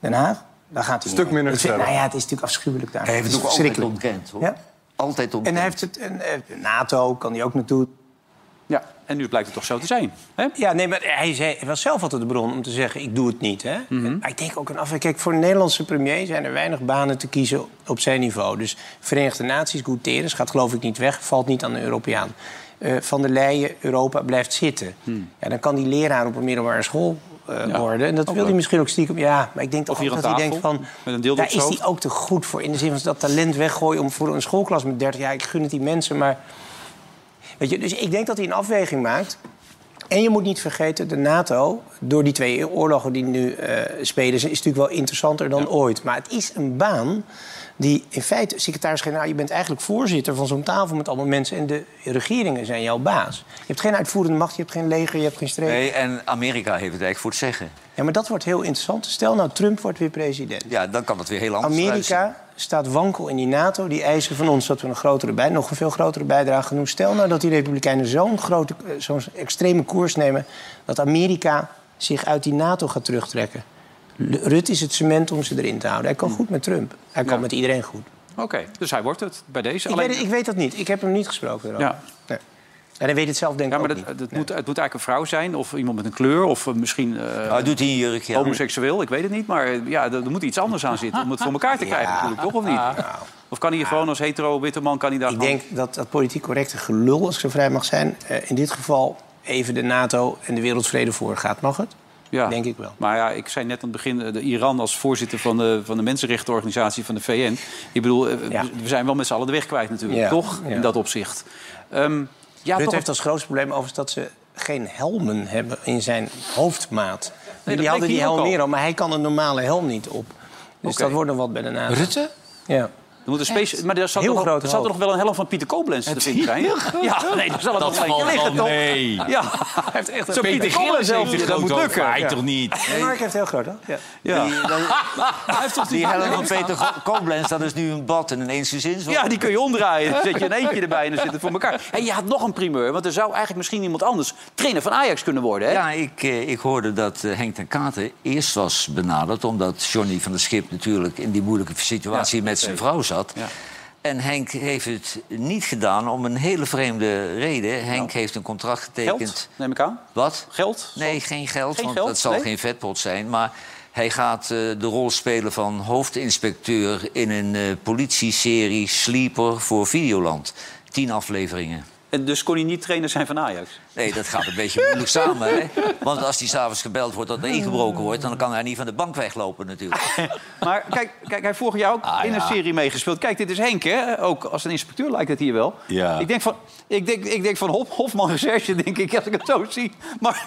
Speaker 4: Den Haag. Daar gaat hij
Speaker 13: Stuk
Speaker 4: niet.
Speaker 13: minder
Speaker 4: Het is- Nou
Speaker 13: gezellig.
Speaker 4: ja, het is natuurlijk afschuwelijk daar.
Speaker 3: Hij heeft het
Speaker 4: is
Speaker 3: ook altijd
Speaker 4: verschrikkelijk.
Speaker 3: ontkend, hoor.
Speaker 4: Ja.
Speaker 3: Altijd ontkend.
Speaker 4: En hij heeft het, en, eh, NATO kan hij ook naartoe.
Speaker 1: Ja, en nu blijkt het toch zo te zijn.
Speaker 4: Ja, nee, maar hij zei, hij was zelf altijd de bron om te zeggen: ik doe het niet. Hè?
Speaker 1: Mhm.
Speaker 4: Maar ik denk ook een afweging. Kijk, voor een Nederlandse premier zijn er weinig banen te kiezen op zijn niveau. Dus Verenigde Naties, Guterres gaat geloof ik niet weg, valt niet aan de Europeaan. Eh, Van der Leyen, Europa blijft zitten.
Speaker 1: Hmm.
Speaker 4: Ja, dan kan die leraar op een middelbare school eh, worden. En dat wil hij misschien ook stiekem. Ja, maar ik denk toch
Speaker 1: hier
Speaker 4: ook
Speaker 1: aan
Speaker 4: dat hij
Speaker 1: tafel,
Speaker 4: denkt van.
Speaker 1: met een dildo op
Speaker 4: Daar is
Speaker 1: zijn
Speaker 4: hij ook te goed voor. In de zin van dat talent weggooien om voor een schoolklas met 30 jaar. Ik gun het die mensen, maar. Weet je, dus ik denk dat hij een afweging maakt. En je moet niet vergeten, de NATO, door die twee oorlogen die nu eh, spelen, is natuurlijk wel interessanter dan ooit. Maar het is een baan die in feite, secretaris-generaal, je bent eigenlijk voorzitter van zo'n tafel met allemaal mensen. En de regeringen zijn jouw baas. Je hebt geen uitvoerende macht, je hebt geen leger, je hebt geen streep.
Speaker 3: Nee, en Amerika heeft het eigenlijk voor het zeggen.
Speaker 4: Ja, maar dat wordt heel interessant. Stel nou, Trump wordt weer president.
Speaker 3: Ja, dan kan het weer heel anders uitzien.
Speaker 4: Amerika staat wankel in die NATO. Die eisen van ons dat we een grotere bij, nog een veel grotere bijdrage gaan doen. Stel nou dat die Republikeinen zo'n grote, eh, zo'n extreme koers nemen... dat Amerika zich uit die NATO gaat terugtrekken. De- Rutte is het cement om ze erin te houden. Hij kan
Speaker 1: Hmm.
Speaker 4: goed met Trump. Hij kan met iedereen goed.
Speaker 1: Oké, dus hij wordt het bij deze.
Speaker 4: Ik,
Speaker 1: Alleen-
Speaker 4: weet, het- ik weet dat niet. Ik heb hem niet gesproken erover.
Speaker 1: Ja.
Speaker 4: Nee. En hij weet het zelf denk ik
Speaker 1: ja, maar dat,
Speaker 4: ook
Speaker 1: dat moet, het moet eigenlijk een vrouw zijn of iemand met een kleur of eh, misschien
Speaker 4: Oh,
Speaker 1: eh,
Speaker 3: Hij Ah, doet hij een jurkje aan.
Speaker 1: homoseksueel, ik weet het niet. Maar eh, ja, er, er moet iets anders aan zitten om het voor elkaar te krijgen natuurlijk, toch of niet? Of kan hij gewoon als hetero witte man kan hij daar
Speaker 4: Ik
Speaker 1: gewoon-
Speaker 4: denk dat dat politiek correcte gelul, als ik zo vrij mag zijn... eh, in dit geval even de NATO en de wereldvrede voorgaat. Mag het?
Speaker 1: Ja.
Speaker 4: Denk ik wel.
Speaker 1: Maar ja, ik zei net aan het begin, eh, de Iran als voorzitter van de, van de mensenrechtenorganisatie van de VN. Ik bedoel, eh,
Speaker 4: Ja.
Speaker 1: we zijn wel met z'n allen de weg kwijt natuurlijk,
Speaker 4: Ja.
Speaker 1: toch?
Speaker 4: Ja.
Speaker 1: In dat opzicht. Ehm ja,
Speaker 4: Rutte
Speaker 1: toch-
Speaker 4: heeft als grootste probleem overigens dat ze geen helmen hebben in zijn hoofdmaat.
Speaker 1: dat
Speaker 4: die hadden
Speaker 1: bleek
Speaker 4: die
Speaker 1: hier ook
Speaker 4: helm
Speaker 1: al.
Speaker 4: meer al, maar hij kan een normale helm niet op. Dus
Speaker 1: Oké.
Speaker 4: dat wordt nog wat bij de naam.
Speaker 6: Rutte?
Speaker 4: Ja.
Speaker 1: Er moet een special, maar er zat,
Speaker 4: Heel
Speaker 1: nog,
Speaker 4: groot
Speaker 1: er zat er nog
Speaker 4: hoofd.
Speaker 1: wel een helm van Pieter Koblenz te vinden zijn. Ja, nee, daar zal het
Speaker 6: Dat
Speaker 1: nog wel
Speaker 6: valt
Speaker 1: eentje liggen,
Speaker 6: wel
Speaker 1: toch?
Speaker 6: mee.
Speaker 1: Ja, hij heeft echt
Speaker 6: Zo
Speaker 1: een Pieter Koblenz
Speaker 6: zelf
Speaker 1: zelf, dat moet lukken.
Speaker 6: Hij
Speaker 1: Ja.
Speaker 6: toch niet?
Speaker 4: En Mark heeft heel groot, hè? Ja.
Speaker 1: Ja.
Speaker 3: Die, die helm van Peter Go- Koblenz, dat is nu een bad en een eensgezins.
Speaker 1: Ja, die kun je omdraaien. Dan zet je een eentje erbij en dan zit het voor elkaar. En je had nog een primeur, want er zou eigenlijk misschien iemand anders trainer van Ajax kunnen worden. Hè?
Speaker 3: Ja, ik, eh, ik hoorde dat eh, Henk ten Katen eerst was benaderd... omdat Johnny van der Schip natuurlijk in die moeilijke situatie met zijn vrouw zat. En Henk heeft het niet gedaan om een hele vreemde reden. Henk heeft een contract getekend...
Speaker 1: Geld, neem ik aan.
Speaker 3: Wat?
Speaker 1: Geld?
Speaker 3: Nee, geen geld,
Speaker 1: Geen
Speaker 3: want
Speaker 1: geld?
Speaker 3: dat zal
Speaker 1: Nee?
Speaker 3: geen vetpot zijn. Maar hij gaat eh, de rol spelen van hoofdinspecteur... in een eh, politieserie Sleeper voor Videoland. Tien afleveringen.
Speaker 1: En dus kon hij niet trainer zijn van Ajax.
Speaker 3: Nee, dat gaat een beetje moeilijk samen. Hè? Want als hij s'avonds gebeld wordt dat er ingebroken wordt... dan kan hij niet van de bank weglopen natuurlijk.
Speaker 1: Maar kijk, kijk hij vorig jaar ook
Speaker 3: Ah,
Speaker 1: in een
Speaker 3: ja.
Speaker 1: serie meegespeeld. Kijk, dit is Henk, hè? Ook als een inspecteur lijkt het hier wel.
Speaker 3: Ja.
Speaker 1: Ik denk van, ik denk, ik denk van Hof, Hofman Recherche, denk ik, als ik het zo zie. Maar,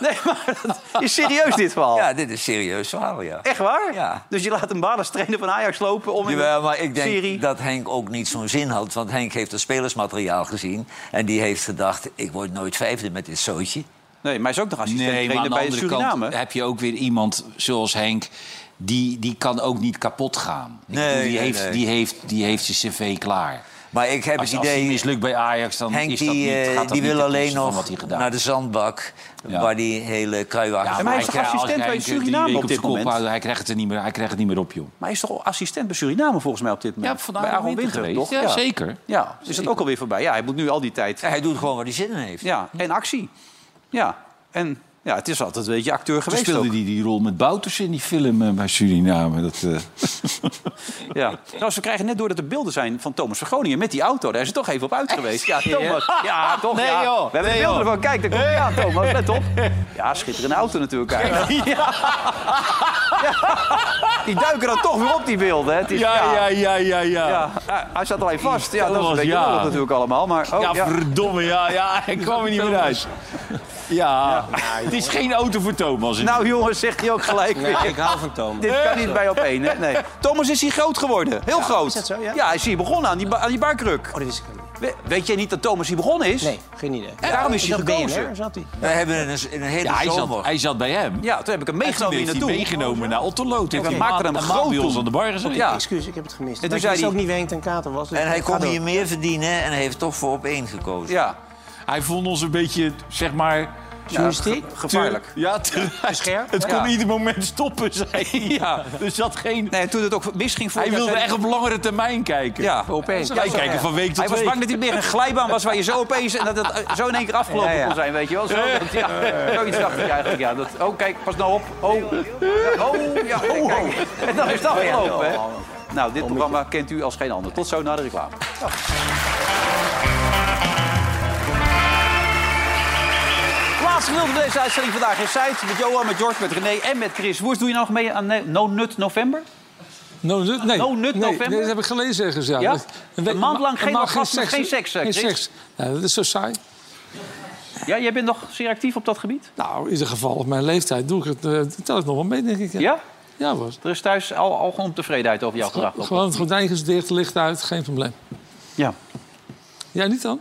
Speaker 1: nee, maar dat is serieus dit verhaal.
Speaker 6: Oh.
Speaker 3: Ja, dit is een serieus verhaal, ja.
Speaker 1: Echt waar? Ja. Dus je laat een baan als trainer van Ajax lopen om in
Speaker 3: Jawel,
Speaker 1: de
Speaker 3: maar ik denk
Speaker 1: serie...
Speaker 3: dat Henk ook niet zo'n zin had. Want Henk heeft het spelersmateriaal gezien. En die heeft gedacht, ik word nooit vijfde met dit zootje.
Speaker 1: Nee, maar hij is ook nog
Speaker 3: assistent-trainer
Speaker 6: maar aan de
Speaker 3: bij
Speaker 6: andere
Speaker 3: Suriname.
Speaker 6: kant heb je ook weer iemand zoals Henk... die, die kan ook niet kapot gaan. Ik
Speaker 3: Nee,
Speaker 6: bedoel, die,
Speaker 3: nee,
Speaker 6: heeft,
Speaker 3: nee.
Speaker 6: die, heeft, die heeft zijn cv klaar.
Speaker 3: Maar ik heb
Speaker 6: als,
Speaker 3: het
Speaker 6: als
Speaker 3: idee-
Speaker 6: die mislukt bij Ajax, dan
Speaker 3: Henk
Speaker 6: is dat
Speaker 3: die, eh,
Speaker 6: niet, gaat dat
Speaker 3: die
Speaker 6: niet
Speaker 3: wil
Speaker 6: ten
Speaker 3: alleen
Speaker 6: koste van wat
Speaker 3: nog
Speaker 6: hij gedaan
Speaker 3: naar de zandbak... waar die hele kruiwagen...
Speaker 1: Ja, maar hij is toch assistent bij Suriname op dit moment?
Speaker 6: hij krijgt het er niet meer, hij krijgt het niet meer op, joh.
Speaker 1: Maar hij is toch assistent bij Suriname volgens mij op dit moment?
Speaker 6: Ja, vandaag
Speaker 1: bij
Speaker 6: in
Speaker 1: Aaron
Speaker 6: winter
Speaker 1: Winter,
Speaker 6: geweest.
Speaker 1: toch?
Speaker 6: Ja, zeker.
Speaker 1: Ja, is dat ook alweer voorbij? Ja, hij moet nu al die tijd...
Speaker 3: hij doet gewoon waar hij zin in heeft.
Speaker 1: Ja, en actie. Ja, en ja, het is altijd een beetje acteur
Speaker 6: Toen
Speaker 1: geweest
Speaker 6: speelde
Speaker 1: ook.
Speaker 6: hij die rol met Bouters in die film eh, bij Suriname. Dat, eh,
Speaker 1: Ja. Trouwens, we krijgen net door dat er beelden zijn van Thomas van Groningen met die auto. Daar is het toch even op uit geweest. Ja, Thomas. Ja, toch?
Speaker 14: Nee,
Speaker 1: ja.
Speaker 14: joh.
Speaker 1: We hebben
Speaker 14: Nee,
Speaker 1: de beelden
Speaker 14: joh.
Speaker 1: van. Kijk, daar komt hij aan, Thomas. Let op. Ja, schitterende auto natuurlijk. eigenlijk. Die duiken dan toch weer op, die beelden. Hè. Het is-
Speaker 14: Ja, ja, ja, ja, ja.
Speaker 1: eh, hij zat alleen vast. Ja, dat is een
Speaker 14: Thomas,
Speaker 1: beetje
Speaker 14: ja.
Speaker 1: lullig natuurlijk allemaal. Maar, oh,
Speaker 14: ja, verdomme, ja, ja, ik kwam er niet meer uit. Ja, het is geen auto voor Thomas.
Speaker 1: Nou jongens, zegt hij ook gelijk
Speaker 14: Nee,
Speaker 1: weer.
Speaker 14: ik hou van Thomas.
Speaker 4: Oh,
Speaker 1: Dit kan niet bij op één, hè? Nee. Thomas is hier groot geworden. Heel groot.
Speaker 4: is dat zo, ja?
Speaker 1: hij is hier begonnen aan die, ba- aan die barkruk. Oh, dat wist ik niet. weet jij niet dat Thomas hier begonnen is?
Speaker 4: Nee, geen idee.
Speaker 1: En daarom is
Speaker 4: Ik
Speaker 1: hij
Speaker 4: dacht
Speaker 1: gekozen.
Speaker 4: BNR zat hij.
Speaker 3: We hebben een, een hele
Speaker 6: ja, hij,
Speaker 3: zomer.
Speaker 6: zat, hij zat bij hem.
Speaker 1: Ja, toen heb ik hem meegenomen
Speaker 6: Hij
Speaker 1: hier
Speaker 6: heeft hij
Speaker 1: naartoe.
Speaker 6: meegenomen naar Otto Lood.
Speaker 1: Ja,
Speaker 6: Heeft
Speaker 1: we
Speaker 6: een
Speaker 1: maakten
Speaker 6: maand- een
Speaker 1: hem
Speaker 6: maand
Speaker 1: groot
Speaker 6: bij ons
Speaker 1: toen.
Speaker 6: aan de bar gezeten.
Speaker 1: Ja.
Speaker 4: Excuus, ik heb het gemist.
Speaker 1: En
Speaker 4: En
Speaker 1: toen
Speaker 4: toen
Speaker 1: zei
Speaker 4: ik
Speaker 1: hij-
Speaker 4: wist ook niet wie Henk ten Kater was. dus
Speaker 3: En hij
Speaker 4: ga
Speaker 3: kon
Speaker 4: door.
Speaker 3: hier meer verdienen en hij heeft toch voor op één gekozen.
Speaker 1: Ja.
Speaker 6: Hij vond ons een beetje, zeg maar...
Speaker 4: Journalistiek?
Speaker 1: ge- gevaarlijk.
Speaker 6: Te- ja, te-
Speaker 4: Scherp?
Speaker 6: het
Speaker 1: Ja.
Speaker 6: kon ieder moment stoppen, zei hij.
Speaker 1: Ja.
Speaker 6: Dus dat geen...
Speaker 1: Nee, toen het ook misging voor
Speaker 6: Hij wilde echt op langere termijn kijken.
Speaker 1: Ja,
Speaker 6: opeens.
Speaker 1: Ja,
Speaker 6: Hij
Speaker 1: zo,
Speaker 6: kijken
Speaker 1: ja.
Speaker 6: van week tot
Speaker 1: Hij was
Speaker 6: week.
Speaker 1: bang dat hij meer een glijbaan was waar je zo opeens... en dat het eh, zo in één keer afgelopen
Speaker 6: Ja, ja.
Speaker 1: kon zijn, weet je wel. Zo,
Speaker 6: Eh.
Speaker 1: dat, ja, zoiets dacht ik eigenlijk, ja. Dat, oh, kijk, pas nou op. Oh,
Speaker 6: Eh.
Speaker 1: ja, oh, ja, kijk. En dan is dat afgelopen, hè. Nou, dit programma kent u als geen ander. Tot zo na de reclame. Laatste gedeelte van deze uitzending vandaag is Zuid. Met Johan, met George, met René en met Chris. Woers, doe je nou nog mee aan Ne- No Nut November?
Speaker 2: No nut, nee.
Speaker 1: No nut
Speaker 2: nee,
Speaker 1: november?
Speaker 2: nee, dat heb ik gelezen ergens, ja.
Speaker 1: Ja?
Speaker 2: Dat-
Speaker 1: Een
Speaker 2: we-
Speaker 1: maand lang geen
Speaker 2: maand
Speaker 1: orgasme, geen seks, eh,
Speaker 2: Geen
Speaker 1: Chris.
Speaker 2: seks. Nou, dat is zo saai.
Speaker 1: Ja, jij bent nog zeer actief op dat gebied?
Speaker 2: Nou, in ieder geval op mijn leeftijd doe ik het, eh, tel ik nog wel mee, denk ik.
Speaker 1: Ja?
Speaker 2: Ja, hoor.
Speaker 1: Er is thuis al, al gewoon tevredenheid over jouw gedrag.
Speaker 2: Gewoon het gordijn is dicht, licht uit, geen probleem.
Speaker 1: Ja.
Speaker 2: Jij niet dan?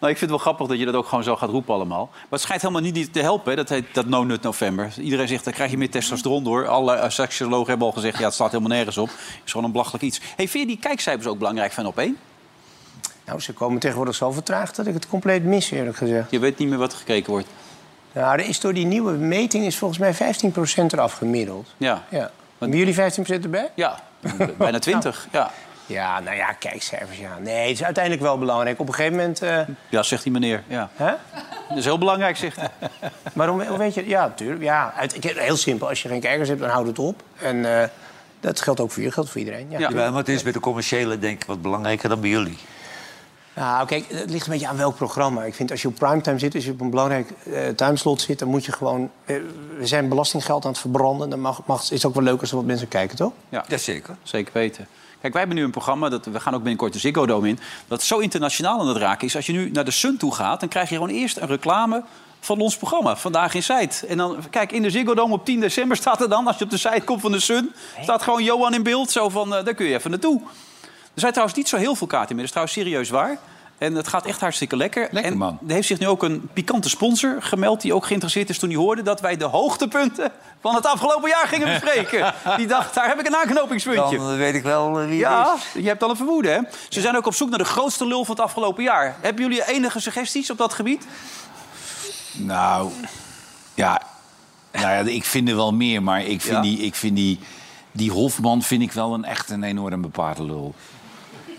Speaker 1: Nou, ik vind het wel grappig dat je dat ook gewoon zo gaat roepen allemaal. Maar het schijnt helemaal niet te helpen, hè, dat, heet, dat No Nut November. Iedereen zegt, dan krijg je meer testosteron door. Alle eh, seksologen hebben al gezegd, ja, het staat helemaal nergens op. Het is gewoon een belachelijk iets. Hey, vind je die kijkcijfers ook belangrijk van op één?
Speaker 4: Nou, ze komen tegenwoordig zo vertraagd dat ik het compleet mis, eerlijk gezegd.
Speaker 1: Je weet niet meer wat er gekeken wordt.
Speaker 4: Nou, er is door die nieuwe meting is volgens mij 15% eraf gemiddeld.
Speaker 1: Ja,
Speaker 4: Ja. Hebben jullie 15% erbij?
Speaker 1: ja. bijna 20. Ja.
Speaker 4: Ja, nou ja, kijkcijfers, ja. Nee, het is uiteindelijk wel belangrijk. Op een gegeven moment... eh,
Speaker 1: ja, zegt die meneer. Ja.
Speaker 4: hè?
Speaker 1: Dat is heel belangrijk, zegt hij.
Speaker 4: Waarom hoe weet je... Ja, natuurlijk. Ja, uit, ik- heel simpel. Als je geen kijkers hebt, dan houdt het op. En eh, dat geldt ook voor je, geldt voor iedereen. Ja.
Speaker 3: Jawel, maar het is bij de commerciële denk ik wat belangrijker dan bij jullie.
Speaker 4: Nou, kijk, het ligt een beetje aan welk programma. Ik vind als je op primetime zit, als je op een belangrijk eh, timeslot zit, dan moet je gewoon. eh, we zijn belastinggeld aan het verbranden. Dan mag, mag, is het ook wel leuk als er wat mensen kijken, toch?
Speaker 1: Ja.
Speaker 3: zeker.
Speaker 1: Zeker weten. Kijk, wij hebben nu een programma, dat, we gaan ook binnenkort de Ziggo Dome in... dat zo internationaal aan het raken is. Als je nu naar de Sun toe gaat, dan krijg je gewoon eerst een reclame van ons programma. Vandaag in Zuid. En dan, kijk, in de Ziggo Dome op 10 december staat er dan... als je op de site komt van de Sun, staat gewoon Johan in beeld. Zo van, eh, daar kun je even naartoe. Er zijn trouwens niet zo heel veel kaarten meer. Dat is trouwens serieus waar. En het gaat echt hartstikke lekker. en Er heeft zich nu ook een pikante sponsor gemeld... die ook geïnteresseerd is toen hij hoorde... dat wij de hoogtepunten van het afgelopen jaar gingen bespreken. die dacht, daar heb ik een aanknopingspuntje.
Speaker 3: Dan weet ik wel eh, wie
Speaker 1: Ja,
Speaker 3: het is.
Speaker 1: je hebt al een vermoeden, hè? Ze zijn ook op zoek naar de grootste lul van het afgelopen jaar. Hebben jullie enige suggesties op dat gebied?
Speaker 6: Nou, ja, nou ja, ik vind er wel meer, maar ik vind,
Speaker 1: Ja.
Speaker 6: die, ik vind die, die Hofman vind ik wel een echt een enorme paardenlul.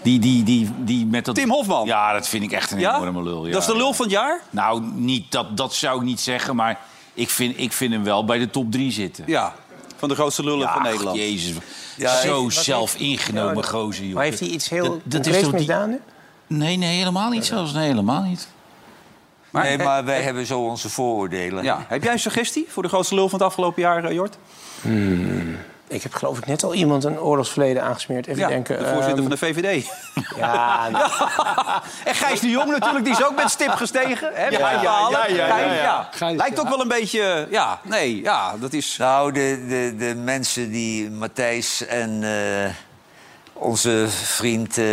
Speaker 6: Die, die, die, die met dat...
Speaker 1: Tim Hofman?
Speaker 6: Ja, dat vind ik echt een
Speaker 1: Ja?
Speaker 6: enorme lul. Ja.
Speaker 1: Dat is de lul van het jaar?
Speaker 6: Nou, niet, dat, dat zou ik niet zeggen, maar ik vind, ik vind hem wel bij de top drie zitten.
Speaker 1: Ja, van de grootste lullen
Speaker 6: Ja,
Speaker 1: van Nederland.
Speaker 6: jezus.
Speaker 1: Ja,
Speaker 6: zo
Speaker 1: wat heeft-
Speaker 6: zelf ingenomen gozer, joh.
Speaker 4: Maar heeft hij iets heel
Speaker 6: Dat- dat is
Speaker 4: concreets
Speaker 6: toch die-
Speaker 4: misdaan? nu?
Speaker 6: Nee, nee, helemaal niet zelfs. Nee, helemaal niet.
Speaker 3: Maar, nee, maar wij hebben zo onze vooroordelen.
Speaker 1: Ja. Heb jij een suggestie voor de grootste lul van het afgelopen jaar, eh, Jort?
Speaker 4: Ik heb geloof ik net al iemand een oorlogsverleden aangesmeerd. Even
Speaker 1: ja,
Speaker 4: denken.
Speaker 1: de voorzitter
Speaker 4: ehm,
Speaker 1: van de VVD.
Speaker 4: Ja,
Speaker 1: nou. En Gijs de Jong natuurlijk, die is ook met stip gestegen. Hè,
Speaker 3: Ja,
Speaker 1: bij
Speaker 3: ja,
Speaker 1: Verhalen.
Speaker 3: ja, ja,
Speaker 1: Gijs,
Speaker 3: ja, ja. Gijs,
Speaker 1: Lijkt ook
Speaker 3: ja.
Speaker 1: wel een beetje... eh, Ja, nee, ja, dat is... eh,
Speaker 3: Nou, de, de, de mensen die Matthijs en eh, onze vriend eh,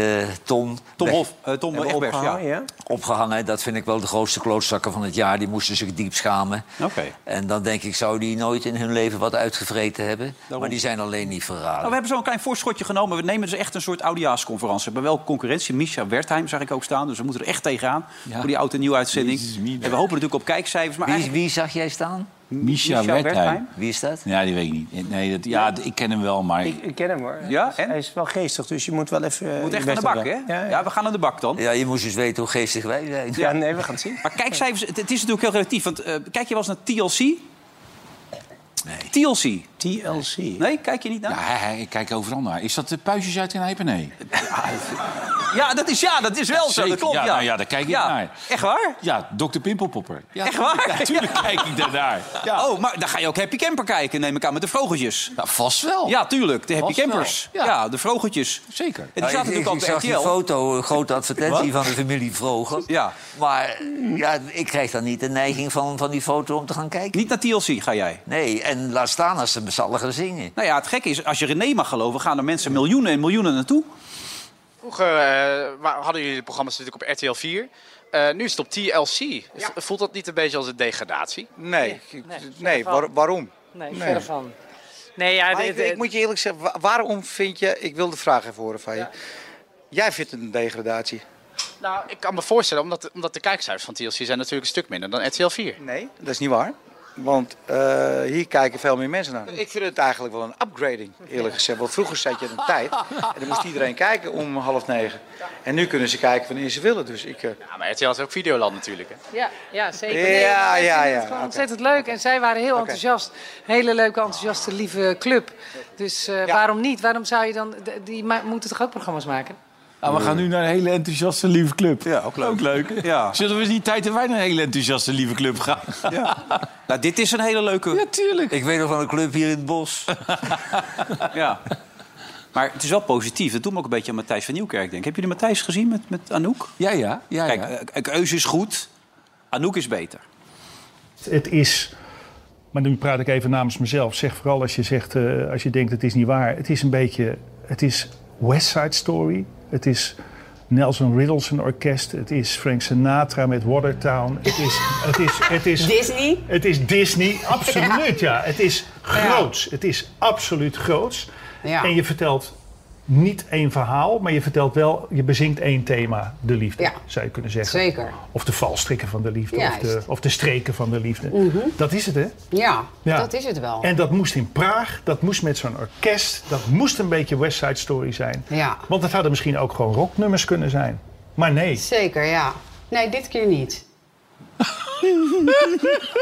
Speaker 3: Tom...
Speaker 1: Tom
Speaker 3: weg-
Speaker 1: Hof, eh, Tom
Speaker 3: hebben
Speaker 1: Egbers, ja.
Speaker 3: opgehangen, Opgehangen, dat vind ik wel de grootste klootzakken van het jaar. Die moesten zich diep schamen.
Speaker 1: Oké.
Speaker 3: En dan denk ik, zou die nooit in hun leven wat uitgevreten hebben?
Speaker 1: Daarom.
Speaker 3: Maar die zijn alleen niet verraden.
Speaker 1: Nou, we hebben zo'n klein voorschotje genomen. We nemen dus echt een soort oudejaarsconferentie. We hebben wel concurrentie. Misha Wertheim zag ik ook staan. Dus we moeten er echt tegenaan. Voor die oud en nieuw uitzending. En we hopen natuurlijk op kijkcijfers. Maar
Speaker 3: Wie, wie zag jij staan?
Speaker 6: Misha Wertheim.
Speaker 3: Wie is dat?
Speaker 6: Ja, die weet ik niet. Nee, dat, ja, ik ken hem wel, maar...
Speaker 4: Ik, ik ken hem hoor.
Speaker 1: Ja,
Speaker 4: Hij is wel geestig, dus je moet wel even... eh,
Speaker 1: moet
Speaker 4: je
Speaker 1: echt aan
Speaker 4: best
Speaker 1: de
Speaker 4: doen.
Speaker 1: bak, hè? Ja, we gaan aan de bak dan.
Speaker 3: Ja, je moest dus weten hoe geestig wij zijn.
Speaker 4: Ja, nee, we gaan het zien.
Speaker 1: Maar kijkcijfers, het, het is natuurlijk heel relatief. Want eh, kijk je wel eens naar TLC? TLC.
Speaker 4: TLC.
Speaker 1: Nee, kijk je niet naar?
Speaker 6: Ja,
Speaker 1: Ja,
Speaker 6: hij- hij- Nou, ik kijk overal naar. Is dat de puisjes uit Knijpen? Nee.
Speaker 1: dat, is, ja dat is wel zo.
Speaker 6: Zeker.
Speaker 1: Dat klopt, ja.
Speaker 6: nou ja, daar kijk ik
Speaker 1: Ja.
Speaker 6: naar.
Speaker 1: Echt waar?
Speaker 6: Ja, Dr. Pimpelpopper. Ja.
Speaker 1: Echt waar?
Speaker 6: Natuurlijk kijk ik daarnaar.
Speaker 1: Oh, maar dan ga je ook Happy Camper kijken, neem ik aan, met de vogeltjes.
Speaker 6: Nou, vast wel.
Speaker 1: Ja, tuurlijk, de Happy
Speaker 6: Vast wel.
Speaker 1: Campers. Ja.
Speaker 6: Ja.
Speaker 1: de vogeltjes.
Speaker 6: Zeker.
Speaker 1: En die
Speaker 3: Nou,
Speaker 1: zaten
Speaker 3: ik,
Speaker 1: natuurlijk
Speaker 3: ik
Speaker 1: al op de
Speaker 3: zag die
Speaker 1: RTL.
Speaker 3: foto, een grote advertentie
Speaker 1: Wat?
Speaker 3: van de familie Vroger.
Speaker 1: Ja.
Speaker 3: Maar ja, ik krijg dan niet de neiging van, van die foto om te gaan kijken.
Speaker 1: Niet naar TLC ga jij?
Speaker 3: Nee, en laat staan als ze me zal gaan zingen.
Speaker 1: Nou ja, het gekke is, als je René mag geloven, gaan er mensen miljoenen en miljoenen naartoe.
Speaker 15: Vroeger eh, wa- hadden jullie de programma's natuurlijk op RTL 4. Eh, nu is het op TLC. Is- Voelt dat niet een beetje als een degradatie?
Speaker 16: Nee, nee, waar- waarom? Nee, verre van.
Speaker 17: Nee, ja,
Speaker 16: Maar
Speaker 17: dit-
Speaker 16: ik, ik moet je eerlijk zeggen, wa- waarom vind je... Ik wil de vraag even horen van je. Jij vindt het een degradatie.
Speaker 15: Nou, ik kan me voorstellen, omdat, omdat de kijkcijfers van TLC zijn natuurlijk een stuk minder dan RTL 4.
Speaker 16: Nee. Dat is niet waar. Want eh, hier kijken veel meer mensen naar. Ik vind het eigenlijk wel een upgrading, eerlijk gezegd. Want vroeger zat je in een tijd en dan moest iedereen kijken om half negen. En nu kunnen ze kijken wanneer ze willen. Dus ik... eh,
Speaker 15: Ja, maar RTL is ook Videoland natuurlijk. Hè.
Speaker 17: Ja, ja zeker.
Speaker 16: Ja,
Speaker 17: Nee, maar ik
Speaker 16: ja,
Speaker 17: vind
Speaker 16: ja,
Speaker 17: Het gewoon
Speaker 16: oké.
Speaker 17: ontzettend leuk. En zij waren heel
Speaker 16: Oké.
Speaker 17: enthousiast. Een hele leuke, enthousiaste, lieve club. Dus eh, waarom niet? Waarom zou je dan... d- Die ma- moeten toch ook programma's maken?
Speaker 14: Nou, we gaan nu naar een hele enthousiaste lieve club. Ja, ook leuk.
Speaker 1: Ja.
Speaker 6: Zullen we eens niet tijd en wij naar een hele enthousiaste lieve club gaan?
Speaker 1: Nou, dit is een hele leuke.
Speaker 6: Natuurlijk.
Speaker 3: Ik weet nog van een club hier in het bos.
Speaker 1: Ja. Maar het is wel positief. Dat doet me ook een beetje aan Matthijs van Nieuwkerk denken. Hebben jullie Matthijs gezien met, met Anouk?
Speaker 6: Ja, ja. ja,
Speaker 1: Kijk, eh, Keus is goed. Anouk is beter.
Speaker 18: Het is, maar nu praat ik even namens mezelf. Zeg vooral als je, zegt, eh, als je denkt het is niet waar. Het is een beetje, het is West Side Story. Het is Nelson Riddleson Orkest. Het is Frank Sinatra met Watertown. Het is, het is, het is
Speaker 19: Disney?
Speaker 18: Het is Disney, absoluut ja. Het is groots. Het is absoluut groots.
Speaker 19: Ja.
Speaker 18: En je vertelt niet één verhaal, maar je vertelt wel, je bezinkt één thema, de liefde,
Speaker 19: Ja.
Speaker 18: zou je kunnen zeggen.
Speaker 19: Zeker.
Speaker 18: Of de valstrikken van de liefde, of
Speaker 19: Juist.
Speaker 18: de, of de streken van de liefde.
Speaker 19: Mhm.
Speaker 18: Dat is het, hè?
Speaker 19: Ja,
Speaker 18: Ja.
Speaker 19: dat is het wel.
Speaker 18: En dat moest in Praag, dat moest met zo'n orkest, dat moest een beetje West Side Story zijn.
Speaker 19: Ja.
Speaker 18: Want het hadden misschien ook gewoon rocknummers kunnen zijn. Maar nee.
Speaker 19: Zeker, ja. Nee, dit keer niet.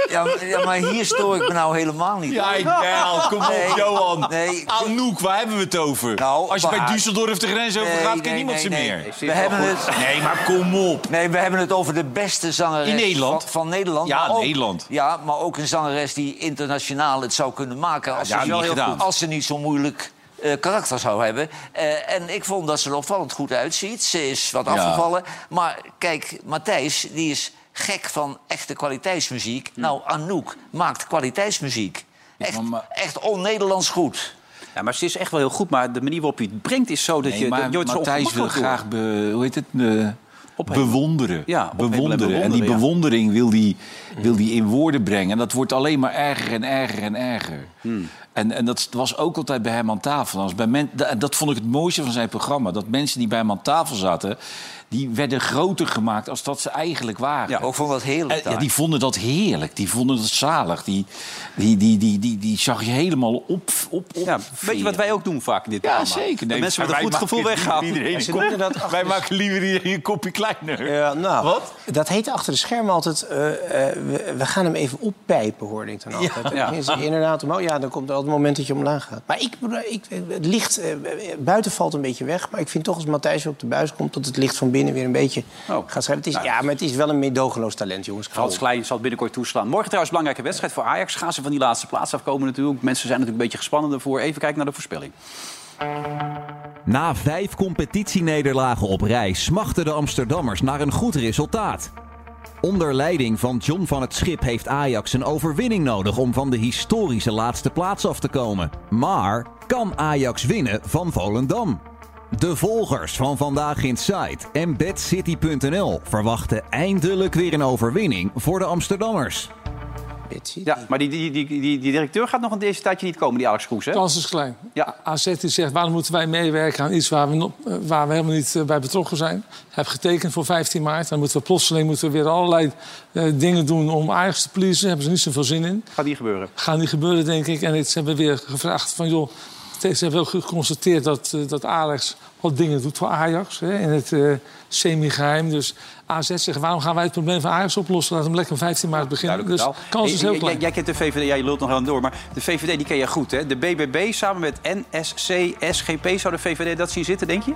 Speaker 3: Ja, maar- ja, maar hier stoor ik me nou helemaal niet.
Speaker 6: Ja,
Speaker 3: aan.
Speaker 6: ik wel. Kom op,
Speaker 3: Nee,
Speaker 6: Johan.
Speaker 3: Nee,
Speaker 6: Anouk, waar hebben we het over?
Speaker 3: Nou,
Speaker 6: Als je bij
Speaker 3: maar-
Speaker 6: Düsseldorf de grens over
Speaker 3: Nee,
Speaker 6: gaat, kent
Speaker 3: nee,
Speaker 6: niemand ze
Speaker 3: nee, nee.
Speaker 6: meer.
Speaker 3: We hebben het...
Speaker 6: Nee, maar kom op.
Speaker 3: Nee, we hebben het over de beste zangeres
Speaker 6: In Nederland?
Speaker 3: Van, van Nederland.
Speaker 6: Ja,
Speaker 3: maar ook-
Speaker 6: Nederland.
Speaker 3: Ja, maar ook een zangeres die internationaal het zou kunnen maken... als,
Speaker 6: ja,
Speaker 3: ze,
Speaker 6: niet
Speaker 3: heel
Speaker 6: gedaan.
Speaker 3: goed- als ze niet zo moeilijk eh, karakter zou hebben. Eh, en ik vond dat ze er opvallend goed uitziet. Ze is wat
Speaker 6: Ja.
Speaker 3: afgevallen. Maar kijk, Matthijs, die is gek van echte kwaliteitsmuziek.
Speaker 6: Hm.
Speaker 3: Nou, Anouk maakt kwaliteitsmuziek. Echt, echt on-Nederlands goed.
Speaker 1: Ja, maar ze is echt wel heel goed. Maar de manier waarop je het brengt is zo dat
Speaker 6: Nee,
Speaker 1: je...
Speaker 6: maar
Speaker 1: dat je het zo
Speaker 6: Matthijs wil
Speaker 1: ongemakkelijk
Speaker 6: graag be- hoe heet het, eh, bewonderen.
Speaker 1: Ja, ophemelen en
Speaker 6: bewonderen. En die
Speaker 1: bewonderen, ja.
Speaker 6: bewondering wil die, wil die in woorden brengen. En dat wordt alleen maar erger en erger en erger.
Speaker 1: Hmm.
Speaker 6: En, en dat was ook altijd bij hem aan tafel. Als bij men, da- dat vond ik het mooiste van zijn programma. Dat mensen die bij hem aan tafel zaten... die werden groter gemaakt als dat ze eigenlijk waren.
Speaker 3: Ja, ook vond dat
Speaker 1: Eh,
Speaker 3: heerlijk
Speaker 6: En- ja,
Speaker 3: daar.
Speaker 6: die vonden dat heerlijk. Die vonden dat zalig. Die, die, die, die, die, die zag je helemaal op, op, op
Speaker 1: doen. Ja, weet je wat wij ook doen vaak in dit
Speaker 6: Ja,
Speaker 1: programma?
Speaker 6: zeker.
Speaker 1: Dat
Speaker 6: Nee,
Speaker 1: mensen met
Speaker 6: wij
Speaker 1: een goed
Speaker 6: maken
Speaker 1: gevoel
Speaker 6: het
Speaker 1: weggaan.
Speaker 6: liever iedereen een kopje- Wij maken liever iedereen een kopje kleiner.
Speaker 4: Ja, nou, Wat? Dat heet achter de schermen altijd... eh, eh, we, we gaan hem even oppijpen, hoorde ik dan altijd.
Speaker 1: Ja.
Speaker 4: Is het Inderdaad, omhoog. ja, dan komt er altijd het moment dat je omlaag gaat. Maar ik, ik, het licht eh, buiten valt een beetje weg. Maar ik vind toch als Matthijs op de buis komt... dat het licht van binnen weer een beetje
Speaker 1: Oh.
Speaker 4: gaat schrijven. Het is,
Speaker 1: Nou.
Speaker 4: Ja, maar het is wel een meedogenloos talent, jongens.
Speaker 1: Frans
Speaker 2: Oh.
Speaker 1: Klein zal het binnenkort toeslaan. Morgen trouwens belangrijke wedstrijd voor Ajax. Gaan ze van die laatste plaats afkomen natuurlijk. Mensen zijn natuurlijk een beetje gespannen ervoor. Even kijken naar de voorspelling.
Speaker 20: Na vijf competitienederlagen op rij smachten de Amsterdammers naar een goed resultaat. Onder leiding van John van het Schip heeft Ajax een overwinning nodig om van de historische laatste plaats af te komen. Maar kan Ajax winnen van Volendam? De volgers van Vandaag in Sight en BadCity.nl verwachten eindelijk weer een overwinning voor de Amsterdammers.
Speaker 1: Ja, maar die, die, die, die, die directeur gaat nog een deze tijdje niet komen, die Alex Kroes. Hè?
Speaker 2: Kans is klein. AZ die zegt, waarom moeten wij meewerken aan iets waar we, nog- eh, waar we helemaal niet eh, bij betrokken zijn? Heb getekend voor 15 maart. Dan moeten we plotseling moeten we weer allerlei eh, dingen doen om Ajax te pleasen. Daar hebben ze niet zoveel zin in.
Speaker 1: Gaat niet gebeuren.
Speaker 2: Gaan niet gebeuren, denk ik. En ze hebben weer gevraagd van, joh... Ze hebben ook geconstateerd dat, eh, dat Alex wat dingen doet voor Ajax. Hè, in het eh, semi-geheim. Dus AZ zegt, waarom gaan wij het probleem van Ajax oplossen? Laat hem lekker om 15 maart beginnen. Dus
Speaker 1: Nou,
Speaker 2: kans is
Speaker 1: jij-
Speaker 2: heel
Speaker 1: jij-
Speaker 2: klein.
Speaker 1: Jij, kent de VVD, jij lult nog wel door, maar de VVD die ken je goed, hè? De BBB samen met NSC, SGP, zou de VVD dat zien zitten, denk je?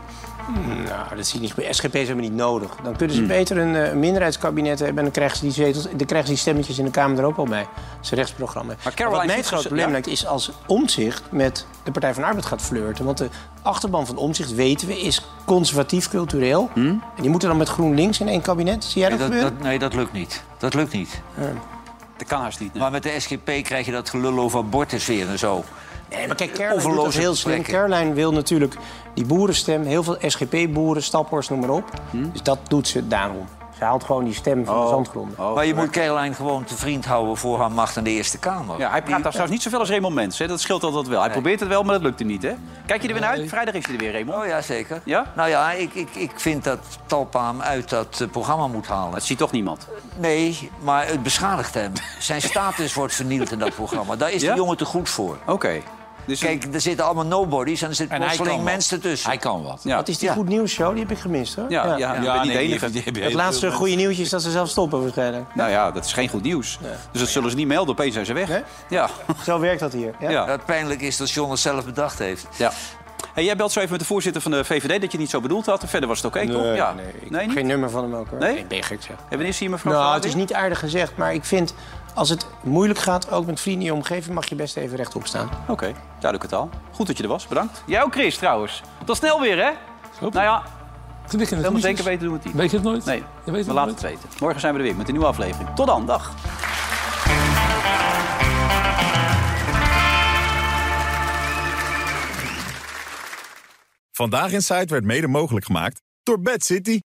Speaker 4: Nou, dat zie ik niet. gebeuren. SGP is helemaal niet nodig. Dan kunnen ze beter een eh, minderheidskabinet hebben... en dan krijgen, ze die zetels, dan krijgen ze die stemmetjes in de Kamer er ook al bij. Dat is een rechtsprogramma. Maar
Speaker 1: Caroline
Speaker 4: Wat mij
Speaker 1: Fietsen-
Speaker 4: het groot probleem
Speaker 1: ja.
Speaker 4: lijkt, is als Omzicht met de Partij van de Arbeid gaat flirten. Want de achterban van Omzicht, weten we, is conservatief cultureel. En die moeten dan met GroenLinks in één kabinet. Zie jij Hmm? dat,
Speaker 3: Nee, dat,
Speaker 4: gebeuren?
Speaker 3: dat, nee, dat lukt niet. Dat lukt niet.
Speaker 1: Dat kan haast niet.
Speaker 3: Maar met de SGP krijg je dat gelul over abortus weer en zo.
Speaker 4: Nee, maar kijk, Caroline doet dat
Speaker 3: Overloze
Speaker 4: heel slim.
Speaker 3: gesprekken.
Speaker 4: Caroline wil natuurlijk die boerenstem. Heel veel SGP-boeren, stappers, noem maar op. Dus dat doet ze daarom. Ze haalt gewoon die stem van de zandgronden.
Speaker 6: Oh,
Speaker 3: maar je moet Caroline gewoon te vriend houden voor haar macht in de Eerste Kamer.
Speaker 1: Ja, hij praat daar trouwens niet zoveel als Raymond Mens. Hè? Dat scheelt altijd wel. Hij probeert het wel, maar dat lukt hem niet. Hè? Kijk je er weer naar uit? Vrijdag is hij er weer, Raymond.
Speaker 3: Oh ja, zeker. Nou ja, ik, ik, ik vind dat Talpa hem uit dat eh, programma moet halen. Dat
Speaker 1: ziet toch niemand?
Speaker 3: Nee, maar het beschadigt hem. Zijn status wordt vernield in dat programma. Daar is
Speaker 1: Ja?
Speaker 3: de jongen te goed voor.
Speaker 1: Oké. Dus
Speaker 3: Kijk, er zitten allemaal nobodies en er zitten
Speaker 6: Oh, En hij
Speaker 3: plotseling
Speaker 6: kan wat.
Speaker 3: mensen tussen.
Speaker 6: Hij kan wat.
Speaker 4: Wat is die goed nieuws show? Die heb ik gemist, hoor.
Speaker 1: Ja, ja, je bent niet
Speaker 6: nee,
Speaker 1: de
Speaker 6: die
Speaker 1: enige.
Speaker 6: heb- die heb je
Speaker 4: Het
Speaker 6: heel
Speaker 4: laatste
Speaker 6: veel
Speaker 4: goede nieuwtje is dat ze zelf stoppen waarschijnlijk.
Speaker 1: Nou ja, dat is geen goed nieuws. Dus dat zullen ze niet melden. Opeens zijn ze weg. Ja.
Speaker 4: Zo werkt dat hier. Ja.
Speaker 1: Ja.
Speaker 3: Dat pijnlijk is dat John het zelf bedacht heeft.
Speaker 1: ja. Hey, jij belt zo even met de voorzitter van de VVD dat je het niet zo bedoeld had. En verder was het oké, toch? Ja.
Speaker 4: nee, ik
Speaker 1: nee
Speaker 4: heb
Speaker 1: niet?
Speaker 4: geen nummer van hem ook, hoor.
Speaker 1: Nee?
Speaker 4: Ik ben gek, zeg.
Speaker 1: En wanneer zie je mevrouw
Speaker 4: Nou,
Speaker 1: Van
Speaker 4: het is niet aardig gezegd, maar ik vind... als het moeilijk gaat, ook met vrienden in je omgeving... mag je best even rechtop staan.
Speaker 1: Oké, duidelijk het al. Goed dat je er was, bedankt. Jij ook, Chris, trouwens. Tot snel weer, hè? Nou ja, helemaal
Speaker 2: knietjes.
Speaker 1: zeker weten doen we het niet.
Speaker 2: Weet je het nooit?
Speaker 1: Nee,
Speaker 2: Je weet
Speaker 1: we
Speaker 2: het
Speaker 1: laten
Speaker 2: nooit.
Speaker 1: het weten. Morgen zijn we er weer met een nieuwe aflevering. Tot dan, dag.
Speaker 21: Vandaag in Sight werd mede mogelijk gemaakt door Bad City.